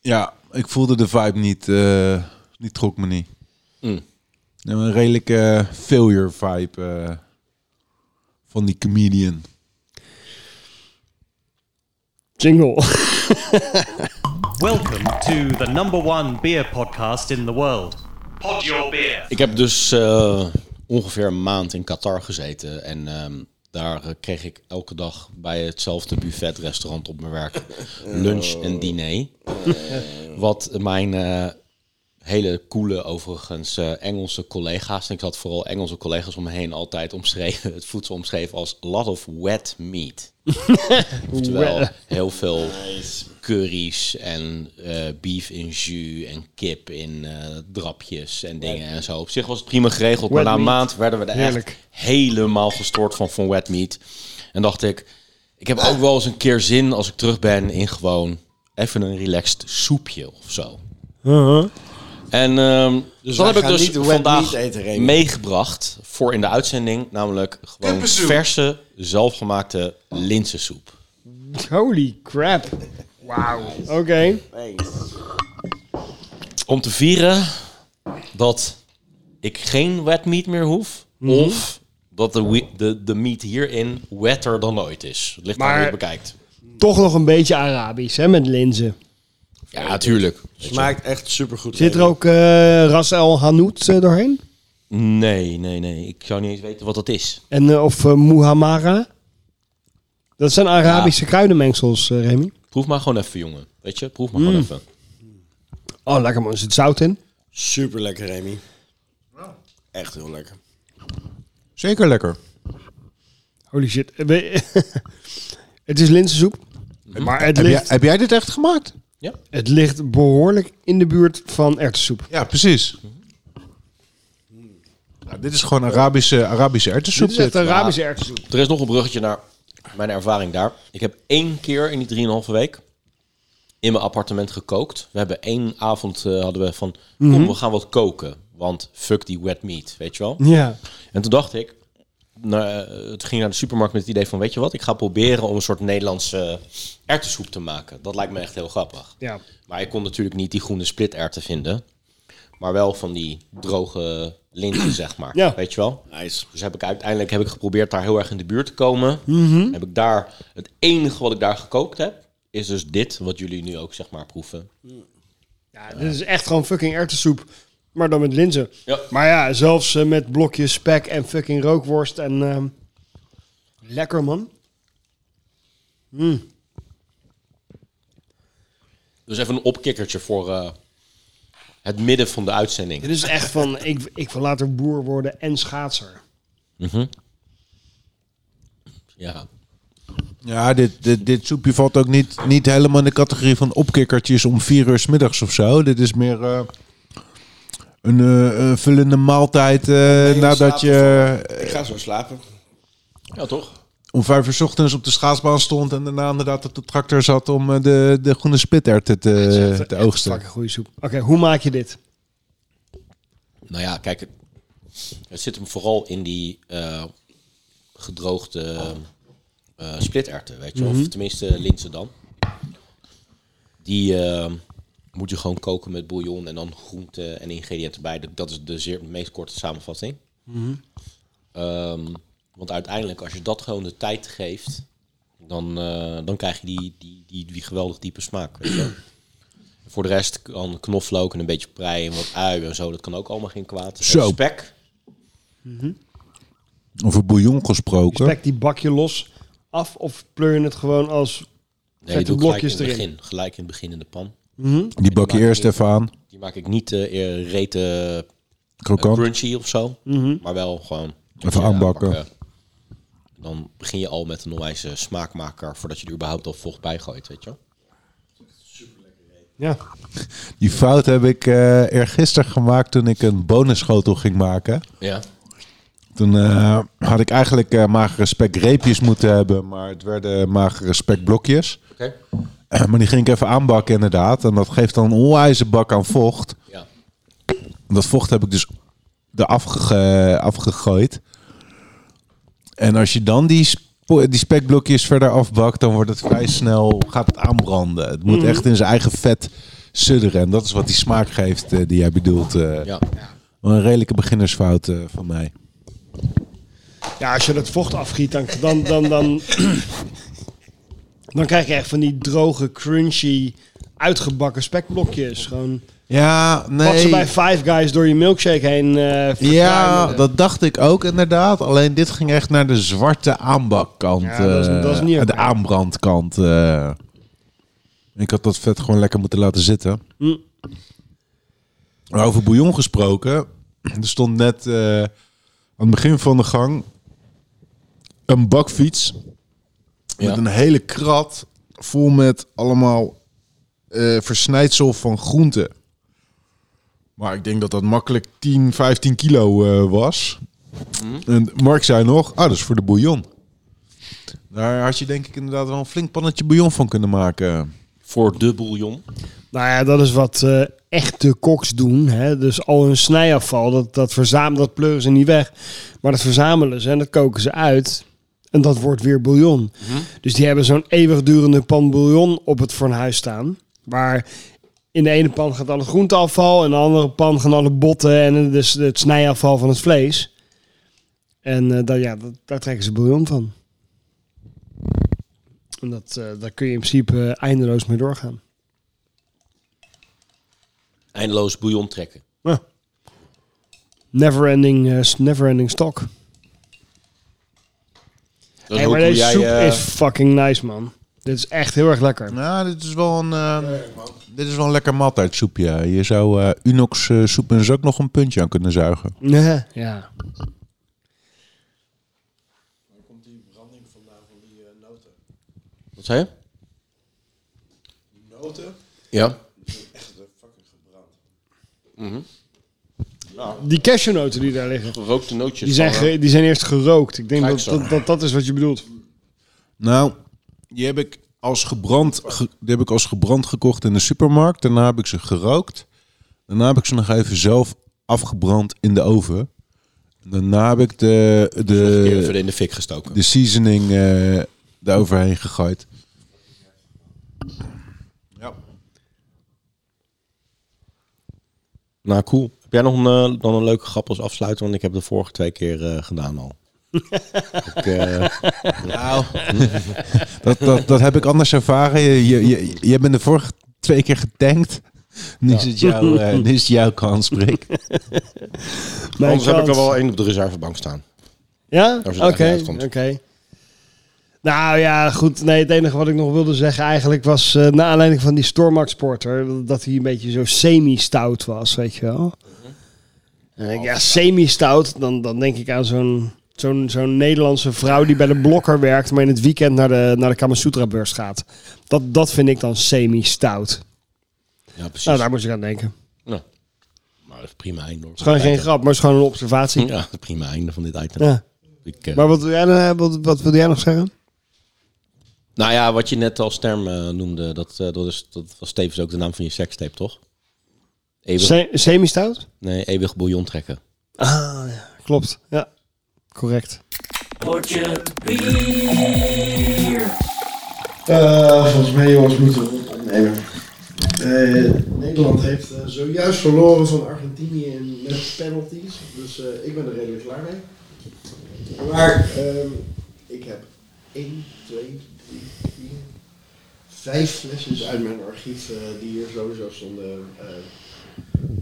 Speaker 6: ja, ik voelde de vibe niet. eh, die trok me niet. Ja, maar Een redelijke failure vibe eh, van die comedian.
Speaker 2: Jingle.
Speaker 4: Welcome to the number one beer podcast in the world. Pod your beer.
Speaker 1: Ik heb dus eh, ongeveer een maand in Qatar gezeten. En ehm, daar eh, kreeg ik elke dag bij hetzelfde buffetrestaurant op mijn werk lunch en diner. Wat mijn eh, hele coole, overigens eh, Engelse collega's, en ik had vooral Engelse collega's om me heen altijd omschreven, het voedsel omschreven als lot of wet meat. Oftewel heel veel curry's en eh, beef in jus en kip in eh, drapjes en dingen en zo. Op zich was het prima geregeld, maar
Speaker 2: Wet
Speaker 1: na een
Speaker 2: meat.
Speaker 1: maand werden we er echt
Speaker 2: Heerlijk.
Speaker 1: helemaal gestoord van, van wet meat. En dacht ik, ik heb ook wel eens een keer zin als ik terug ben in gewoon even een relaxed soepje of zo. En ehm, dat
Speaker 3: wij
Speaker 1: heb ik
Speaker 3: gaan
Speaker 1: dus
Speaker 3: niet wet
Speaker 1: vandaag
Speaker 3: meat eten, Remy.
Speaker 1: meegebracht voor in de uitzending. Namelijk gewoon verse, zelfgemaakte linzensoep.
Speaker 2: Holy crap. Wauw. Oké.
Speaker 1: Om te vieren dat ik geen wet meat meer hoef.
Speaker 3: Mhm.
Speaker 1: Of dat de, wi- de, de meat hierin wetter dan ooit is. Het ligt maar, aan hoe je
Speaker 2: Maar-
Speaker 1: het bekijkt.
Speaker 2: Toch nog een beetje Arabisch, hè, met linzen.
Speaker 1: Ja, natuurlijk.
Speaker 3: Smaakt echt supergoed.
Speaker 2: Zit er ook eh Ras El Hanout eh, doorheen?
Speaker 1: Nee, nee, nee. Ik zou niet eens weten wat dat is.
Speaker 2: En, eh, of eh, Muhammara? Dat zijn Arabische kruidenmengsels, eh, Remy.
Speaker 3: Mm.
Speaker 1: Proef maar gewoon even, jongen. Weet je, proef maar gewoon even.
Speaker 2: Oh, lekker man. Er zit zout in.
Speaker 3: Super lekker, Remy. Echt heel lekker.
Speaker 6: Zeker lekker.
Speaker 2: Holy shit. Eh, we- het is linzensoep. Maar het
Speaker 6: Heb jij,
Speaker 2: ligt,
Speaker 6: heb jij dit echt gemaakt?
Speaker 2: het ligt behoorlijk in de buurt van erwtensoep.
Speaker 6: Ja, precies. Nou, dit is gewoon Arabische, Arabische erwtensoep.
Speaker 2: Dit is echt
Speaker 6: dit.
Speaker 2: Arabische erwtensoep.
Speaker 1: Er is nog een bruggetje naar mijn ervaring daar. Ik heb één keer in die 3,5 week in mijn appartement gekookt. We hebben één avond eh, hadden we van, kom, we gaan wat koken. Want fuck die wet meat, weet je wel.
Speaker 2: Ja.
Speaker 1: En toen dacht ik, nou, eh, het ging naar de supermarkt met het idee van, weet je wat, ik ga proberen om een soort Nederlandse erwtensoep te maken. Dat lijkt me echt heel grappig.
Speaker 2: ja.
Speaker 1: Maar ik kon natuurlijk niet die groene splitterwten vinden. Maar wel van die droge linten, zeg maar.
Speaker 2: Ja.
Speaker 1: Weet je wel?
Speaker 3: Nice.
Speaker 1: Dus heb ik uiteindelijk heb ik geprobeerd daar heel erg in de buurt te komen.
Speaker 2: Mhm.
Speaker 1: Heb ik daar het enige wat ik daar gekookt heb, is dus dit wat jullie nu ook zeg maar proeven.
Speaker 2: Ja, dit is echt gewoon fucking erwtensoep. Maar dan met linzen.
Speaker 1: Ja.
Speaker 2: Maar ja, zelfs eh, met blokjes spek en fucking rookworst. En ehm, lekker man.
Speaker 1: Dus even een opkikkertje voor eh, het midden van de uitzending.
Speaker 2: Dit is echt van, ik, ik wil later boer worden en schaatser.
Speaker 1: Ja.
Speaker 6: Ja, dit, dit, dit soepje valt ook niet, niet helemaal in de categorie van opkikkertjes om vier uur 's middags of zo. Dit is meer eh, een eh, eh, vullende maaltijd eh, nadat
Speaker 3: slapen
Speaker 6: je
Speaker 3: Ik
Speaker 6: eh,
Speaker 3: ga zo slapen.
Speaker 1: ja, toch?
Speaker 6: om vijf uur 's ochtends op de schaatsbaan stond en daarna inderdaad op de tractor zat om eh, de, de groene spiterten te, te oogsten.
Speaker 2: Fucking goede soep. Oké, hoe maak je dit?
Speaker 1: Nou ja, kijk, het, het zit hem vooral in die eh, gedroogde eh splitterwten, weet je wel. Of tenminste linzen dan. Die eh, moet je gewoon koken met bouillon en dan groenten en ingrediënten bij. Dat- Dat is de zeer, meest korte samenvatting. Ehm, want uiteindelijk, als je dat gewoon de tijd geeft, dan, eh, dan krijg je die, die, die, die geweldig diepe smaak. Weet je wel. Voor de rest kan knoflook en een beetje prei en wat uien en zo. Dat kan ook allemaal geen kwaad. En
Speaker 6: Zo.
Speaker 1: Spek.
Speaker 6: Over bouillon gesproken.
Speaker 2: Spek die bakje los af of pleur je het gewoon als...
Speaker 1: Nee,
Speaker 2: Zet
Speaker 1: die
Speaker 2: de
Speaker 1: doe ik gelijk in
Speaker 2: blokjes
Speaker 1: het
Speaker 2: erin.
Speaker 1: begin. Gelijk in het begin in de pan.
Speaker 6: Die bak je eerst even aan.
Speaker 1: Die maak ik niet eh eer- rete eh,
Speaker 6: Krokant.
Speaker 1: crunchy of zo. Maar wel gewoon...
Speaker 6: Even aanbakken.
Speaker 1: Dan begin je al met een onwijze smaakmaker voordat je er überhaupt al vocht bij gooit, weet je wel.
Speaker 2: Ja.
Speaker 6: Die fout heb ik eh eergisteren gemaakt toen ik een bonusschotel ging maken.
Speaker 1: Ja.
Speaker 6: Toen eh, had ik eigenlijk eh, magere spekreepjes moeten hebben, maar het werden magere spekblokjes.
Speaker 1: Oké.
Speaker 6: maar die ging ik even aanbakken inderdaad. En dat geeft dan een onwijze bak aan vocht.
Speaker 1: Ja.
Speaker 6: En Dat vocht heb ik dus eraf gege- afgegooid. En als je dan die, spo- die spekblokjes verder afbakt, dan wordt het vrij snel, gaat het aanbranden. Het
Speaker 1: Mm.
Speaker 6: moet echt in zijn eigen vet sudderen. En dat is wat die smaak geeft eh, die jij bedoelt. eh.
Speaker 1: Ja.
Speaker 6: Wel Een redelijke beginnersfout eh, van mij.
Speaker 2: ja, als je dat vocht afgiet, dan, dan, dan, dan, dan krijg je echt van die droge, crunchy, uitgebakken spekblokjes. Gewoon...
Speaker 6: Ja,
Speaker 2: Wat ze
Speaker 6: nee.
Speaker 2: bij Five Guys door je milkshake heen eh
Speaker 6: Ja,
Speaker 2: verkruimelen.
Speaker 6: dat dacht ik ook inderdaad. Alleen dit ging echt naar de zwarte aanbakkant.
Speaker 2: Ja, dat is-
Speaker 6: eh,
Speaker 2: dat is niet
Speaker 6: de
Speaker 2: oké.
Speaker 6: aanbrandkant. eh. Ik had dat vet gewoon lekker moeten laten zitten.
Speaker 2: Hm.
Speaker 6: Maar Over bouillon gesproken. Er stond net eh, aan het begin van de gang een bakfiets.
Speaker 1: Ja.
Speaker 6: Met een hele krat vol met allemaal eh, versnijdsel van groenten. Maar ik denk dat dat makkelijk 10, 15 kilo eh, was. En Mark zei nog, ah, dat is voor de bouillon. Daar had je denk ik inderdaad wel een flink pannetje bouillon van kunnen maken.
Speaker 1: Voor de bouillon.
Speaker 2: Nou ja, dat is wat eh, echte koks doen. Hè? Dus al hun snijafval, dat, dat verzamelen, dat pleuren ze niet weg. Maar dat verzamelen ze en dat koken ze uit. En dat wordt weer bouillon. Dus die hebben zo'n eeuwigdurende pan bouillon op het fornuis staan. Waar in de ene pan gaat alle groenteafval. In de andere pan gaan alle botten en dus het snijafval van het vlees. En eh, daar- ja, dat, daar trekken ze bouillon van. En dat, eh, daar kun je in principe eh, eindeloos mee doorgaan.
Speaker 1: Eindeloos bouillon trekken.
Speaker 2: Ja. Neverending, eh, neverending stock.
Speaker 1: Dus
Speaker 2: Hey,
Speaker 1: hoe
Speaker 2: maar
Speaker 1: doe
Speaker 2: deze
Speaker 1: jij,
Speaker 2: soep
Speaker 1: eh,
Speaker 2: is fucking nice, man. Dit is echt heel erg lekker.
Speaker 6: Nou, dit is wel een... eh, Dit is wel een lekker maaltijdsoepje. Je zou eh Unox eh, soep en ook nog een puntje aan kunnen zuigen.
Speaker 2: Ja. ja.
Speaker 1: Wat zei je? Noten? Ja.
Speaker 2: Die cashewnoten die daar liggen.
Speaker 1: Gerookte nootjes.
Speaker 2: Die zijn,
Speaker 1: van,
Speaker 2: ge- die zijn eerst gerookt. Ik denk dat
Speaker 1: Kijk zo.
Speaker 2: dat, dat dat is wat je bedoelt.
Speaker 6: Nou, die heb ik als gebrand, ge- die heb ik als gebrand gekocht in de supermarkt. Daarna heb ik ze gerookt. Daarna heb ik ze nog even zelf afgebrand in de oven. Daarna heb ik de,
Speaker 1: eh,
Speaker 6: de,
Speaker 1: even in de fik gestoken.
Speaker 6: de seasoning eh daaroverheen gegooid. Ja.
Speaker 1: Nou, cool. Heb jij nog een, eh, dan een leuke grap als afsluiter? Want ik heb de vorige twee keer eh, gedaan al. ik, eh,
Speaker 6: Dat, dat, dat heb ik anders ervaren. Je, je, je, jij bent de vorige twee keer getankt. Nu is het, jouw, eh, nu is het jouw kans, Brik.
Speaker 2: Mijn
Speaker 1: anders heb ik
Speaker 2: kant.
Speaker 1: er wel één op de reservebank staan.
Speaker 2: Ja?
Speaker 1: Als
Speaker 2: Oké,
Speaker 1: het echt niet
Speaker 2: oké.
Speaker 1: uitkomt.
Speaker 2: Nou ja, goed. Nee, het enige wat ik nog wilde zeggen eigenlijk was... na naar aanleiding van die Stormax Porter... dat hij een beetje zo semi-stout was, weet je wel.
Speaker 1: Mhm.
Speaker 2: En dan denk ik, ja, semi-stout, dan, dan denk ik aan zo'n... Zo'n zo'n Nederlandse vrouw die bij de blokker werkt, maar in het weekend naar de, naar de Kamasutra-beurs gaat. Dat, dat vind ik dan semi-stout.
Speaker 1: Ja, precies.
Speaker 2: Nou, daar moest ik aan denken. Het
Speaker 1: Nou, maar dat is prima einde. hoor.
Speaker 2: is gewoon geen grap, maar het is gewoon een observatie.
Speaker 1: Ja, het prima einde van dit item.
Speaker 2: Ja.
Speaker 1: Ik, eh,
Speaker 2: Maar wat, wil jij dan- wat, wat wilde jij nog zeggen?
Speaker 1: nou ja, wat je net als term eh, noemde, dat, eh, dat, is, dat was tevens ook de naam van je sekstape, toch? Eeuwig,
Speaker 2: Se- Semi-stout?
Speaker 1: nee, eeuwig bouillon trekken.
Speaker 2: Ah, ja. klopt. Ja, correct.
Speaker 7: Eh, volgens mij, jongens, moeten we het opnemen. Eh, Nederland heeft eh, zojuist verloren van Argentinië in, met penalties. Dus eh, ik ben er redelijk klaar mee. Maar ehm, ik heb 1, 2, 3, 4, 5 flesjes uit mijn archief eh, die hier sowieso stonden eh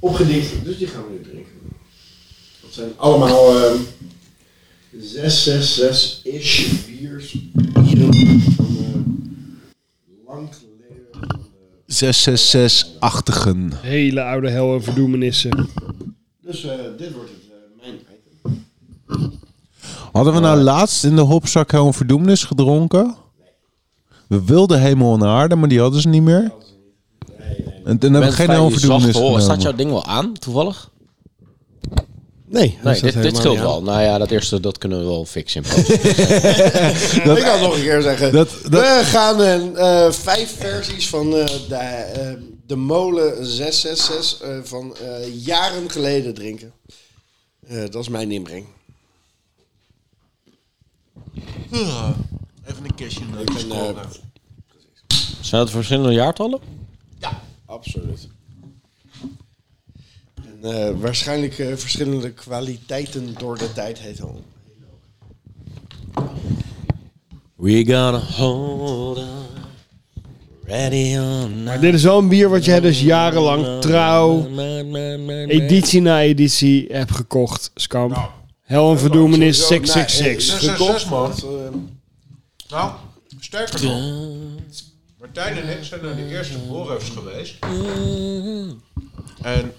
Speaker 7: opgedicht. Dus die gaan we nu drinken. Dat zijn allemaal ehm 666-ish biers. Bieren van, eh, lang geleden. van de-
Speaker 6: 666-achtigen.
Speaker 2: Hele oude hel en verdoemenissen.
Speaker 7: Dus eh, dit wordt het, eh, mijn item.
Speaker 6: Hadden we nou laatst in de hopzak heel een verdoemenis gedronken? We wilden hemel en aarde, maar die hadden ze niet meer. En toen hebben we geen heel verdoemenis
Speaker 1: Staat jouw
Speaker 6: genomen.
Speaker 1: ding wel aan, toevallig?
Speaker 2: Nee.
Speaker 1: Nee, dit, dit scheelt wel. Nou ja, dat eerste, dat kunnen we wel fixen in post.
Speaker 7: Ik kan het nog een keer zeggen.
Speaker 6: Dat- dat-
Speaker 7: We gaan een, eh, vijf versies van eh, de, eh, de molen 666 eh, van eh, jaren geleden drinken. Eh, dat is mijn inbreng.
Speaker 6: Even een kistje.
Speaker 7: ben, eh,
Speaker 1: Zijn dat verschillende jaartallen?
Speaker 7: Absoluut. En, eh, waarschijnlijk eh, verschillende kwaliteiten door de tijd heet al.
Speaker 1: We gotta hold on. Ready on.
Speaker 2: Maar dit is wel een bier wat jij dus jarenlang trouw,
Speaker 1: nou,
Speaker 2: editie na editie hebt gekocht, Scamp. hel en verdoemenis
Speaker 7: Sowieso, nou, eh,
Speaker 2: 666.
Speaker 7: 666,
Speaker 6: Gekocht.
Speaker 7: man. Dat, eh,
Speaker 6: Nou, sterker nog. Martijn en ik zijn naar de eerste voorrefs geweest. En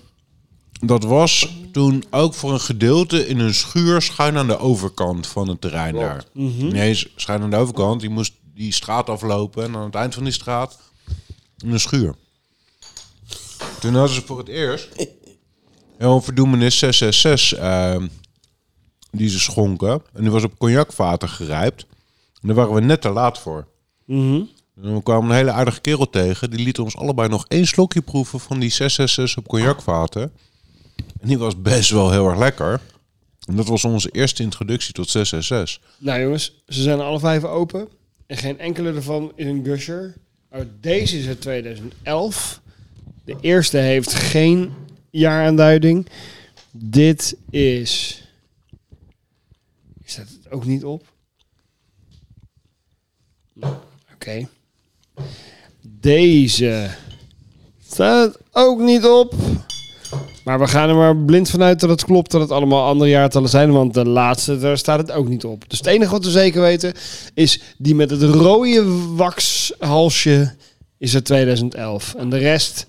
Speaker 6: dat was toen ook voor een gedeelte in een schuur schuin aan de overkant van het terrein daar. Nee, s- schuin aan de overkant. Die moest die straat aflopen en aan het eind van die straat in een schuur. Toen hadden ze voor het eerst een verdoemenis 666 eh, die ze schonken. En die was op cognacvaten gerijpt. En daar waren we net te laat voor.
Speaker 2: Mhm.
Speaker 6: En we kwamen een hele aardige kerel tegen. Die liet ons allebei nog één slokje proeven van die 666 op cognacvaten. En die was best wel heel erg lekker. En dat was onze eerste introductie tot 666.
Speaker 2: Nou jongens, ze zijn alle vijf open. En geen enkele ervan is een gusher. Uit deze is uit 2011. De eerste heeft geen jaaraanduiding. Dit is... Is dat het ook niet op? Oké. Deze staat het ook niet op. Maar we gaan er maar blind vanuit dat het klopt dat het allemaal andere jaartallen zijn. Want de laatste, daar staat het ook niet op. Dus het enige wat we zeker weten is die met het rode waxhalsje is uit 2011. En de rest,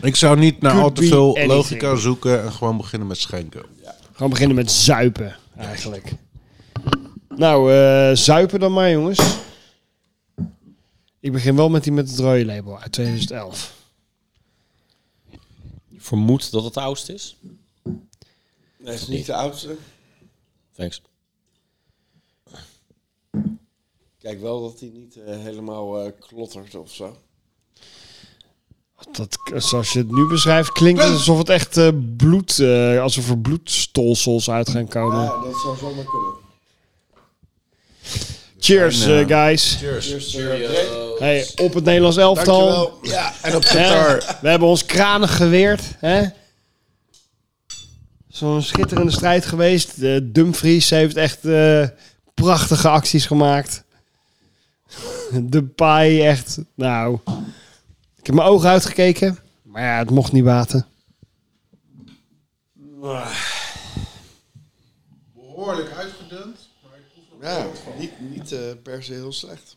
Speaker 6: Ik zou niet naar
Speaker 2: Could
Speaker 6: al te
Speaker 2: be
Speaker 6: veel
Speaker 2: anything.
Speaker 6: logica zoeken en gewoon beginnen met schenken.
Speaker 2: gewoon beginnen met zuipen eigenlijk. Nou, eh, zuipen dan maar jongens. Ik begin wel met die met het rode label uit 2011.
Speaker 1: Vermoed dat het de oudste is.
Speaker 7: Dat is niet de oudste.
Speaker 1: Thanks.
Speaker 7: Kijk wel dat hij niet eh, helemaal eh, klottert of zo.
Speaker 2: Dat, zoals je het nu beschrijft, klinkt het alsof het echt eh, bloed, eh, alsof er bloedstolsels uit gaan komen.
Speaker 7: Ja, dat zou zomaar kunnen.
Speaker 2: Cheers,
Speaker 6: Ja.
Speaker 2: eh, guys.
Speaker 7: Eerst uh,
Speaker 2: Hey, op het Nederlands elftal.
Speaker 6: Dankjewel. Ja, en op
Speaker 2: Hè?
Speaker 6: Qatar.
Speaker 2: We hebben ons kranig geweerd. hè? Zo'n schitterende strijd geweest. De Dumfries heeft echt eh, prachtige acties gemaakt. De paai echt. Nou, ik heb mijn ogen uitgekeken. Maar ja, het mocht niet baten.
Speaker 6: Behoorlijk uitgedund.
Speaker 7: Ja, niet, niet eh, per se heel slecht.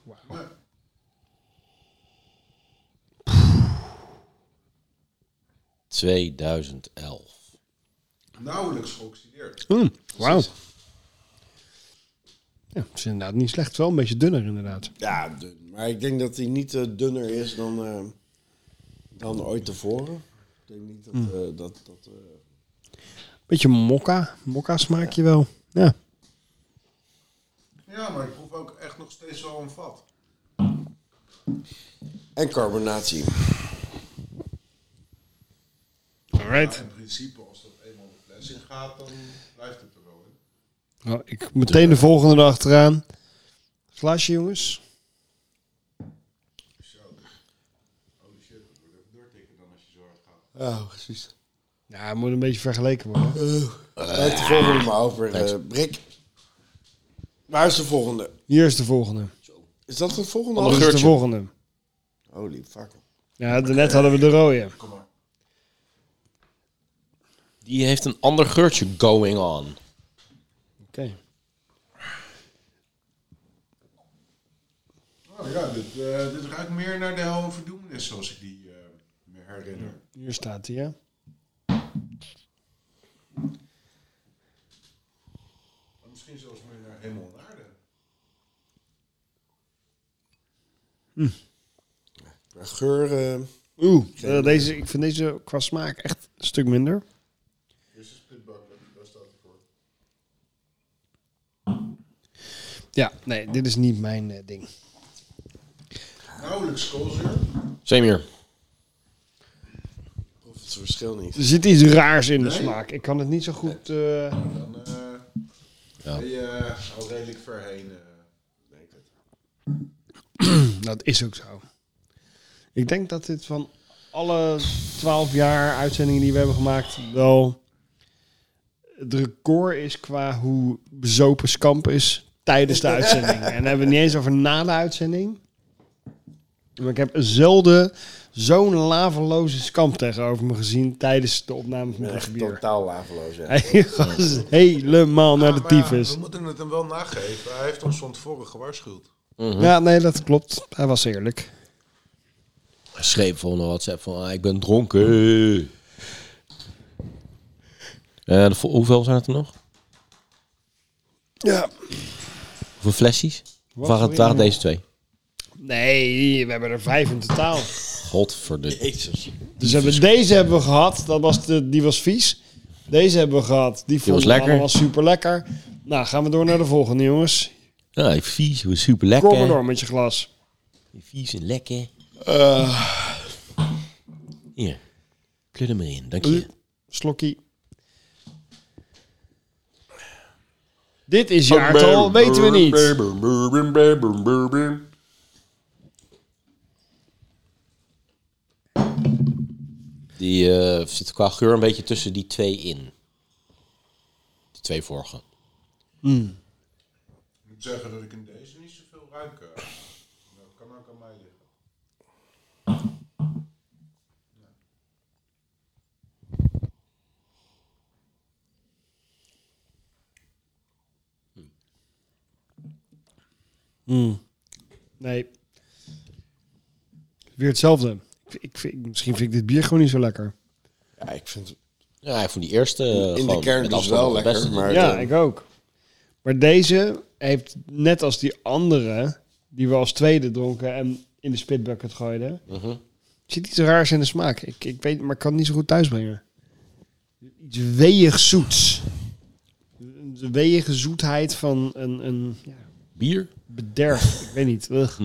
Speaker 1: Ja. 2011.
Speaker 6: Nauwelijks geoxideerd.
Speaker 2: Mm, Wauw. Ja, het is inderdaad niet slecht. Wel een beetje dunner inderdaad.
Speaker 7: Ja, dun. Maar ik denk dat hij niet eh, dunner is dan, eh, dan ooit tevoren. Ik denk niet dat... eh, dat, dat eh,
Speaker 2: Beetje mokka. Mokka smaak je wel. Ja.
Speaker 6: Ja, maar ik proef ook echt nog steeds wel een vat.
Speaker 7: En carbonatie.
Speaker 2: Alright.
Speaker 6: In principe, als dat eenmaal de fles in gaat, dan blijft het er wel in.
Speaker 2: Nou, ik meteen de volgende erachteraan. Glaasje, jongens.
Speaker 7: Oh, precies.
Speaker 2: Ja, het moet een beetje vergeleken worden.
Speaker 7: Laat Eh, de volgende maar over, eh, Brik. Waar is de volgende?
Speaker 2: Hier is de volgende.
Speaker 7: Is dat de volgende?
Speaker 2: Hier is de volgende.
Speaker 7: Holy fuck.
Speaker 2: Ja, daarnet hadden we de rode.
Speaker 1: Die heeft een ander geurtje going on.
Speaker 2: Oké.
Speaker 6: Oh ja, dit, eh, dit ruikt meer naar de hel en verdoemenis, zoals ik die eh, me herinner.
Speaker 2: Hier staat hij, ja.
Speaker 6: Maar Oh, Misschien zelfs meer naar hemel en aarde.
Speaker 7: Geur. eh,
Speaker 2: Oeh, eh, deze, ik vind deze qua smaak echt een stuk minder. Ja, nee, dit is niet mijn eh, ding.
Speaker 6: Nauwelijks koolzuur.
Speaker 1: Same hier.
Speaker 7: of het verschil niet.
Speaker 2: Er zit iets raars in de smaak. Ik kan het niet zo goed... eh,
Speaker 6: Dan eh ben je eh, al redelijk ver heen. eh, denk ik.
Speaker 2: Dat is ook zo. Ik denk dat dit van alle 12 jaar uitzendingen die we hebben gemaakt wel het record is qua hoe bezopen Skamp is tijdens de uitzending. En daar hebben we het niet eens over na de uitzending. Maar ik heb zelden zo'n laveloze Skamp tegenover me gezien tijdens de opname van
Speaker 7: Ik ben
Speaker 2: de
Speaker 7: echt
Speaker 2: bier.
Speaker 7: totaal wafeloos. Ja.
Speaker 2: Hij was helemaal naar de
Speaker 6: Maar ja,
Speaker 2: tyfus.
Speaker 6: we moeten het hem wel nageven. Hij heeft ons van tevoren gewaarschuwd.
Speaker 2: Ja, nee, dat klopt. Hij was eerlijk.
Speaker 1: Hij schreef volgende WhatsApp van, ah, ik ben dronken. Eh, de vol- hoeveel zijn het er nog?
Speaker 2: Ja.
Speaker 1: Hoeveel flesjes? Of waren, het,
Speaker 2: voor
Speaker 1: waren deze twee?
Speaker 2: Nee, we hebben er vijf in totaal.
Speaker 1: Godverdomme.
Speaker 7: Jezus.
Speaker 2: Dus hebben, we- deze hebben we gehad, dat was de, die was vies. Deze hebben we gehad, die vonden
Speaker 1: was
Speaker 2: we
Speaker 1: lekker.
Speaker 2: allemaal super lekker. Nou, gaan we door naar de volgende, jongens.
Speaker 1: Ja, Ah, vies, super
Speaker 2: Kom maar door
Speaker 1: lekker.
Speaker 2: met je glas.
Speaker 1: Vies en lekker.
Speaker 2: Eh.
Speaker 1: Hier, pleur er maar in, dank
Speaker 2: Uh,
Speaker 1: je.
Speaker 2: Slokkie. Dit is jaartal, weten we niet.
Speaker 1: Die eh, zit qua geur een beetje tussen die twee in. De twee vorige.
Speaker 6: Ik moet zeggen dat ik in deze niet zoveel ruik. eh. Dat kan ook aan mij liggen.
Speaker 2: Nee. Weer hetzelfde. Ik, ik vind, misschien vind ik dit bier gewoon niet zo lekker.
Speaker 7: Ja, ik vind het
Speaker 1: Ja, ik vond die eerste eh,
Speaker 7: in de
Speaker 1: gewoon
Speaker 7: kern
Speaker 1: met
Speaker 7: dus
Speaker 1: afstand
Speaker 7: wel
Speaker 1: het
Speaker 7: lekker,
Speaker 1: beste.
Speaker 7: maar
Speaker 2: Ja,
Speaker 7: de-
Speaker 2: ik ook. Maar deze heeft net als die andere, die we als tweede dronken en in de spitbucket gooiden, zit iets raars in de smaak. Ik, ik weet, maar ik kan het niet zo goed thuisbrengen. Iets weeg zoets. De weeige zoetheid van een, een ja,
Speaker 1: Bier?
Speaker 2: bederf. Ik weet niet. Ugh.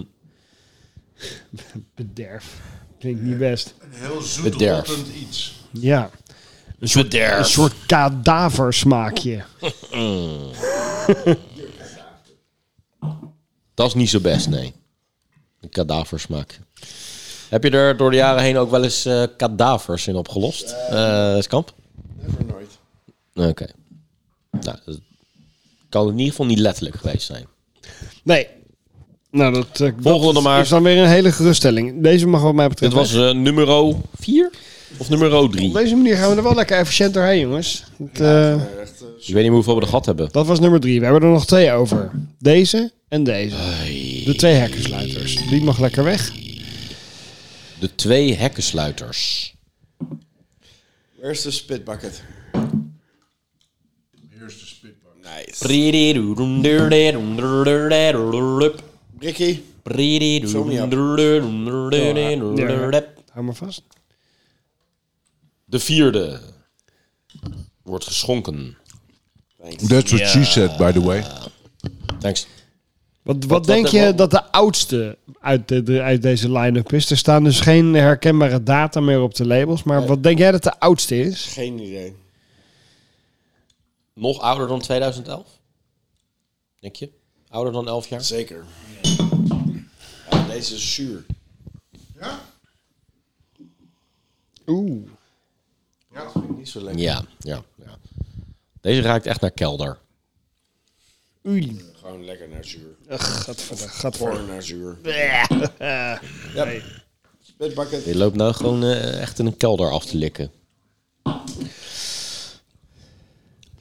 Speaker 2: bederf. Klinkt niet best.
Speaker 6: Een heel zoet
Speaker 1: Bederf.
Speaker 6: rottend iets.
Speaker 2: Ja.
Speaker 1: Een soort
Speaker 2: Een soort kadaversmaakje.
Speaker 1: Dat is niet zo best, nee. Een kadaversmaak. Heb je er door de jaren heen ook wel eens eh, kadavers in opgelost, Eh Skamp?
Speaker 7: never nooit.
Speaker 1: Oké. Nou, dat kan in ieder geval niet letterlijk geweest zijn.
Speaker 2: Nee. Nou, dat, eh,
Speaker 1: Volgende
Speaker 2: dat
Speaker 1: maar.
Speaker 2: is dan weer een hele geruststelling. Deze mag wat mij
Speaker 1: Dit
Speaker 2: betreft.
Speaker 1: was eh nummer 4 of nummer
Speaker 2: Op
Speaker 1: 3?
Speaker 2: deze manier gaan we er wel lekker efficiënt doorheen, jongens. Het, eh,
Speaker 1: Ik weet niet hoeveel we er gehad hebben.
Speaker 2: dat was nummer drie. We hebben er nog twee over. Deze en deze. De twee hekkensluiters. Die mag lekker weg.
Speaker 1: De twee hekkensluiters.
Speaker 7: Waar is de spitbucket?
Speaker 6: Eerste spitbak.
Speaker 7: Nice. Ricky, Zo niet op.
Speaker 2: Hou maar vast.
Speaker 1: De vierde wordt geschonken.
Speaker 6: That's what she said, by the way.
Speaker 1: Thanks.
Speaker 2: Wat, wat, denk
Speaker 1: wat-
Speaker 2: je dat de oudste uit, de, de- uit deze line-up is? Er staan dus geen herkenbare data meer op de labels. Maar wat denk jij dat de oudste is?
Speaker 7: geen idee.
Speaker 1: Nog ouder dan 2011? Denk je? Ouder dan 11 jaar?
Speaker 7: Zeker. Ja, deze is zuur.
Speaker 2: Oeh.
Speaker 7: Vind ik niet zo lekker.
Speaker 1: Ja, ja, ja. Deze ruikt echt naar kelder.
Speaker 2: Oei.
Speaker 7: Gewoon lekker naar zuur.
Speaker 2: Gadverdamme. Gadverdamme.
Speaker 7: Voor naar zuur. Ja. Spitbucket.
Speaker 1: Je loopt nou gewoon eh, echt in een kelder af te likken.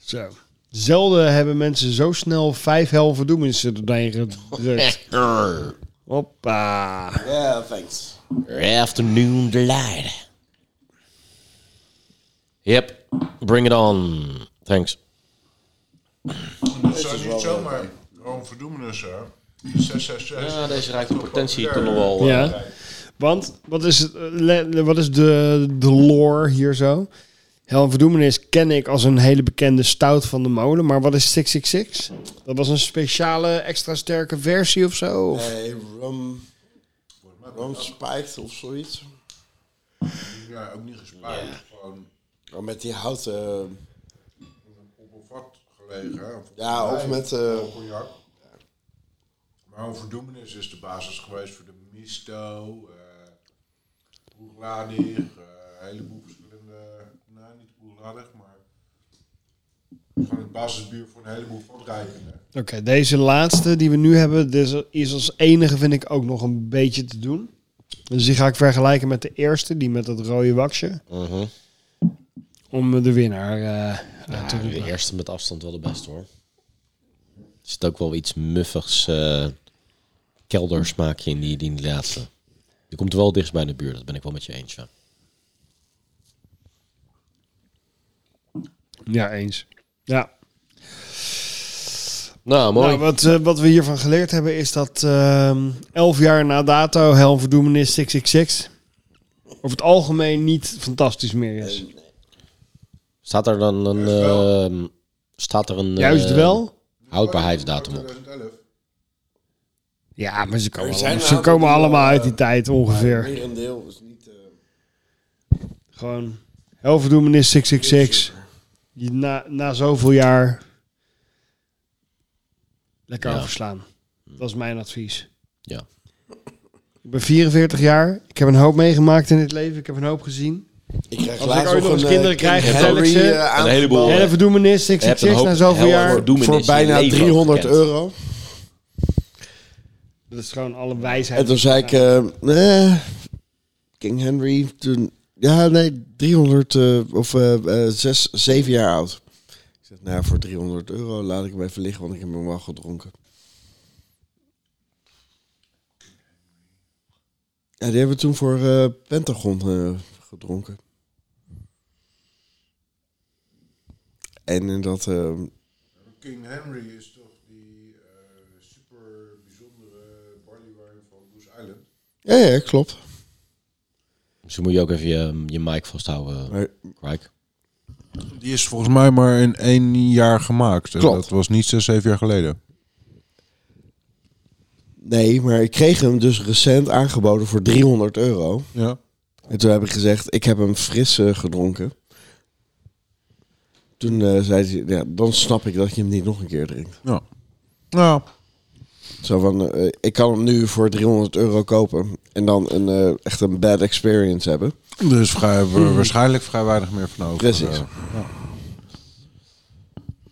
Speaker 2: Zo. Zelden hebben mensen zo snel vijf helven doemenissen doorheen gedrukt. Hoppa.
Speaker 7: Ja, thanks.
Speaker 1: Afternoon delight. Yep, bring it on. Thanks.
Speaker 6: Dat zijn niet zomaar gewoon verdoemenis, hè? 666.
Speaker 1: eh, Ja, deze ruikt de potentie toch nog wel. eh,
Speaker 2: Ja. Want wat is, het, eh, le- wat is de, de lore hier zo? Hel en Verdoemenis ken ik als een hele bekende stout van de molen. Maar wat is 666? Dat was een speciale extra sterke versie of zo? Of?
Speaker 7: Hey, Eh, rum. Rum spiked of zoiets.
Speaker 6: Ja, ook niet gespaard. Gewoon
Speaker 7: Maar Oh, met die eh, houten.
Speaker 6: op een vat gelegen. hè, Of op
Speaker 7: Ja,
Speaker 6: een
Speaker 7: of
Speaker 6: lijn,
Speaker 7: met, eh,
Speaker 6: of een cognac. Maar een verdoemenis is de basis geweest voor de misto, eh roegladig, eh, een heleboel verschillende... Nou, niet roegladig, maar... Gewoon het basisbier voor een heleboel vatrijkenden.
Speaker 2: Oké, deze laatste die we nu hebben, dit is als enige vind ik ook nog een beetje te doen. Dus die ga ik vergelijken met de eerste, die met dat rode waksje. Om eh, de winnaar eh, uit te
Speaker 1: ja, de
Speaker 2: roepen.
Speaker 1: eerste met afstand wel de beste hoor. Er zit ook wel iets muffigs eh keldersmaakje in die, die, in die laatste. Je komt wel dichtst bij de buurt, dat ben ik wel met je eens. Ja.
Speaker 2: Ja, eens. Ja.
Speaker 1: Nou, mooi.
Speaker 2: Nou, wat, eh, wat we hiervan geleerd hebben is dat ehm elf jaar na dato Hel en Verdoemenis 666 over het algemeen niet fantastisch meer is.
Speaker 1: Staat er dan een. ehm, staat er een.
Speaker 2: Juist
Speaker 1: eh,
Speaker 2: wel.
Speaker 1: Houdbaarheidsdatum op.
Speaker 6: 2011.
Speaker 2: Ja, maar ze komen,
Speaker 7: Er zijn
Speaker 2: allemaal,
Speaker 7: een
Speaker 2: ze
Speaker 7: aantal
Speaker 2: komen
Speaker 7: die wel,
Speaker 2: allemaal uit
Speaker 7: eh,
Speaker 2: die tijd ongeveer.
Speaker 7: Merendeel is niet. eh,
Speaker 2: Gewoon Helverdoemenis 666. Je na, na zoveel jaar lekker
Speaker 1: Ja.
Speaker 2: overslaan. Dat is mijn advies.
Speaker 1: Ja.
Speaker 2: Ik ben 44 jaar. Ik heb een hoop meegemaakt in dit leven. Ik heb een hoop gezien.
Speaker 7: ik krijg
Speaker 2: Als ik
Speaker 7: laatst
Speaker 2: ooit nog
Speaker 7: nog
Speaker 2: eens
Speaker 7: een
Speaker 2: kinderen
Speaker 7: eh,
Speaker 2: krijg,
Speaker 7: King
Speaker 2: vertel ik
Speaker 7: Henry,
Speaker 2: ze.
Speaker 7: eh,
Speaker 2: Een
Speaker 7: aangebald
Speaker 1: heleboel,
Speaker 2: Oh.
Speaker 1: eh,
Speaker 2: Helverdoemenis
Speaker 1: Je hebt een
Speaker 2: 666 na
Speaker 1: hoop
Speaker 2: zoveel
Speaker 1: hel-
Speaker 2: jaar.
Speaker 1: verdoemenis in
Speaker 7: voor
Speaker 1: je
Speaker 7: bijna
Speaker 1: leven
Speaker 7: 300
Speaker 1: gekend.
Speaker 7: euro.
Speaker 2: Dat is gewoon alle
Speaker 7: En
Speaker 2: wijsheid.
Speaker 7: toen zei ik, eh, eh, King Henry, toen, ja nee, 300 eh, of eh, eh, zes, zeven jaar oud. Ik zeg, nou ja, voor 300 euro laat ik hem even liggen, want ik heb hem wel gedronken. Ja, die hebben we toen voor eh, Pentagon eh, gedronken. En in dat... eh,
Speaker 6: King Henry is toch die eh, super bijzondere barley wine van Goose Island.
Speaker 7: ja, ja, klopt.
Speaker 1: Misschien moet je ook even je, je mic vasthouden, eh,
Speaker 7: Maar
Speaker 1: Rijk.
Speaker 6: Die is volgens mij maar in één jaar gemaakt. En
Speaker 7: Klopt.
Speaker 6: Dat was niet zes, zeven jaar geleden.
Speaker 7: Nee, maar ik kreeg hem dus recent aangeboden voor 300 euro.
Speaker 6: Ja.
Speaker 7: En toen heb ik gezegd, ik heb hem fris eh, gedronken. Toen eh, zei hij, ja, dan snap ik dat je hem niet nog een keer drinkt.
Speaker 6: Ja. Nou,
Speaker 7: Zo van, eh, ik kan hem nu voor 300 euro kopen en dan een, eh, echt een bad experience hebben.
Speaker 6: er is vrij,
Speaker 2: Hmm.
Speaker 6: waarschijnlijk vrij weinig meer van over.
Speaker 7: Precies.
Speaker 6: Eh,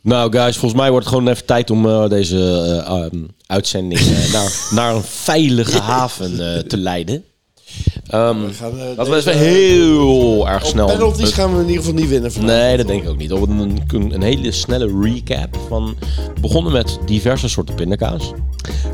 Speaker 1: Nou, guys, volgens mij wordt het gewoon even tijd om eh, deze eh, ehm, uitzending eh, naar, naar een veilige haven eh, te leiden. Ehm,
Speaker 7: gaan, eh,
Speaker 1: laten we eens
Speaker 7: deze-
Speaker 1: heel erg snel.
Speaker 7: Penalties gaan we in ieder geval niet winnen vandaag.
Speaker 1: Nee, dat denk ik ook niet. Op een, een hele snelle recap van. We begonnen met diverse soorten pindakaas.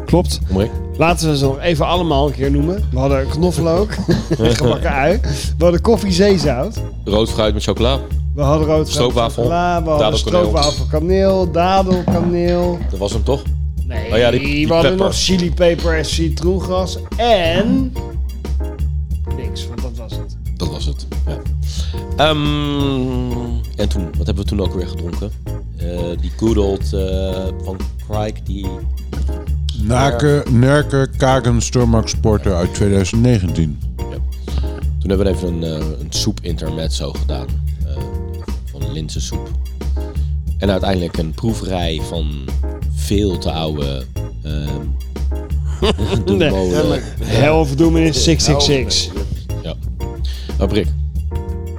Speaker 2: Klopt.
Speaker 1: Omrik.
Speaker 2: Laten we ze nog even allemaal een keer noemen. We hadden knoflook, gebakken ui. We hadden koffie zeezout.
Speaker 1: Rood fruit met chocola.
Speaker 2: We hadden rood
Speaker 1: Stroopwafel.
Speaker 2: chocola, We hadden
Speaker 1: Dadelkaneel.
Speaker 2: stroopwafel kaneel, dadel kaneel.
Speaker 1: Dat was hem toch?
Speaker 2: Nee,
Speaker 1: Oh ja, die- die
Speaker 2: we hadden
Speaker 1: pepper.
Speaker 2: nog chilipeper en citroengras. En... Niks, want dat was het.
Speaker 1: Dat was het. Ja. Ehm, en toen, wat hebben we toen ook weer gedronken? Eh, die good old eh, van Crike, die
Speaker 6: Naken, Nerken, Kagen, Stormax Porter uit 2019.
Speaker 1: Toen hebben we even een, eh, een soep intermezzo gedaan. eh, van linzensoep. En uiteindelijk een proeverij van veel te oude... ehm doelmolen.
Speaker 2: Helverdoemenis 666.
Speaker 1: Ja. Nou, Brik.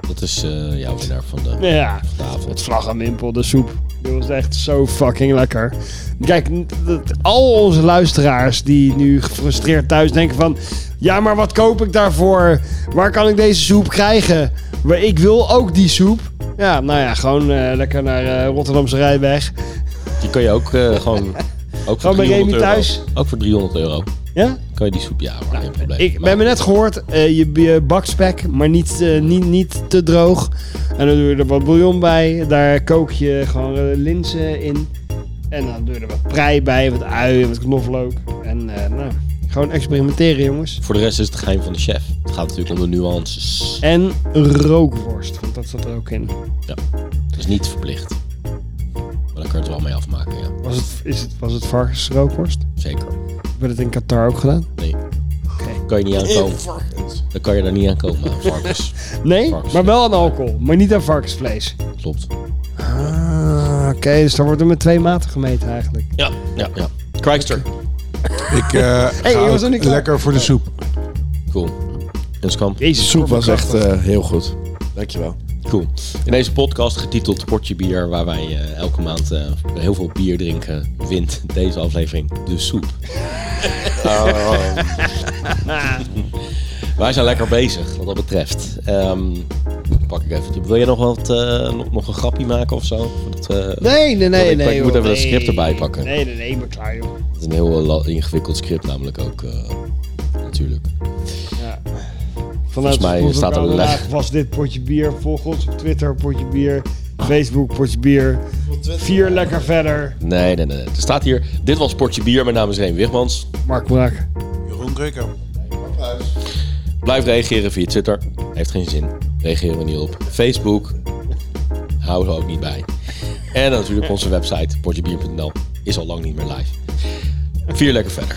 Speaker 1: Dat is eh, jouw winnaar van de
Speaker 2: Ja,
Speaker 1: avond.
Speaker 2: het vlaggenwimpel, de soep. Dit was echt zo fucking lekker. Kijk, n- dat- al onze luisteraars die nu gefrustreerd thuis denken van... Ja, maar wat koop ik daarvoor? Waar kan ik deze soep krijgen? Maar ik wil ook die soep. Ja, nou ja, gewoon eh, lekker naar eh, Rotterdamse Rijweg.
Speaker 1: Die kan je ook eh, gewoon... Ook voor
Speaker 2: Gewoon bij
Speaker 1: 300
Speaker 2: Remy
Speaker 1: euro.
Speaker 2: thuis?
Speaker 1: Ook voor 300 euro.
Speaker 2: Ja?
Speaker 1: Kan je die soep... Ja, maar geen probleem.
Speaker 2: Ik, we
Speaker 1: Maar-
Speaker 2: hebben net gehoord, eh, je, je bakspek, maar niet, eh, niet, niet te droog. En dan doe je er wat bouillon bij. Daar kook je gewoon eh, linzen in. En dan doe je er wat prei bij, wat ui, wat knoflook. En eh, nou, gewoon experimenteren, jongens.
Speaker 1: Voor de rest is het geheim van de chef. Het gaat natuurlijk om de nuances.
Speaker 2: En rookworst, want dat zat er ook in.
Speaker 1: Dat is niet verplicht. Maar dan kun je het er wel mee afmaken, ja.
Speaker 2: Was het, is het, was het varkensrookworst?
Speaker 1: Zeker.
Speaker 2: Hebben we dat in Qatar ook gedaan?
Speaker 1: Nee. Kan je niet aankomen. Dan kan je daar niet aan komen. aan Varkens.
Speaker 2: Nee,
Speaker 1: Varkens-
Speaker 2: maar wel aan alcohol, maar niet aan varkensvlees.
Speaker 1: Klopt.
Speaker 2: Ah, oké, dus dan wordt er met twee maten gemeten eigenlijk.
Speaker 1: Ja, ja, ja. Crackster.
Speaker 6: Ik eh
Speaker 2: Hey,
Speaker 6: ga
Speaker 2: je was
Speaker 6: ook
Speaker 2: nog niet klaar.
Speaker 6: lekker voor de soep.
Speaker 1: Cool. En Skamp.
Speaker 2: Jezus,
Speaker 7: Soep was echt
Speaker 2: krachtig.
Speaker 7: eh, heel goed. Dankjewel.
Speaker 1: Cool. In deze podcast getiteld Potje Bier, waar wij eh, elke maand eh, heel veel bier drinken, wint deze aflevering de soep.
Speaker 2: Oh.
Speaker 1: Ehm, wij zijn lekker bezig, wat dat betreft. Ehm, pak ik even. Wil jij nog, wat, eh, nog, nog een grapje maken of zo? Voordat we-
Speaker 2: Nee, nee, nee.
Speaker 1: Ik-
Speaker 2: nee,
Speaker 1: ik moet even dat
Speaker 2: joh, nee.
Speaker 1: script erbij pakken.
Speaker 2: Nee, nee, nee, ik ben klaar, joh.
Speaker 1: Het is een heel eh, la- ingewikkeld script namelijk ook, eh, natuurlijk.
Speaker 2: Vanuit
Speaker 1: mij
Speaker 2: Spotify
Speaker 1: staat er
Speaker 2: Canada
Speaker 1: leg-
Speaker 2: was dit potje bier. Volg ons op Twitter, potje bier. Facebook, potje bier. Vier lekker verder.
Speaker 1: Nee, nee, nee. nee. Er staat hier, dit was Portje Bier. Mijn naam is Reen Wigmans.
Speaker 2: Mark Braak.
Speaker 6: Jeroen Krikker.
Speaker 1: Blijf reageren via Twitter. Heeft geen zin. Reageren we niet op. Facebook. Houden we ook niet bij. En natuurlijk onze website, portjebier.nl. Is al lang niet meer live. Vier lekker verder.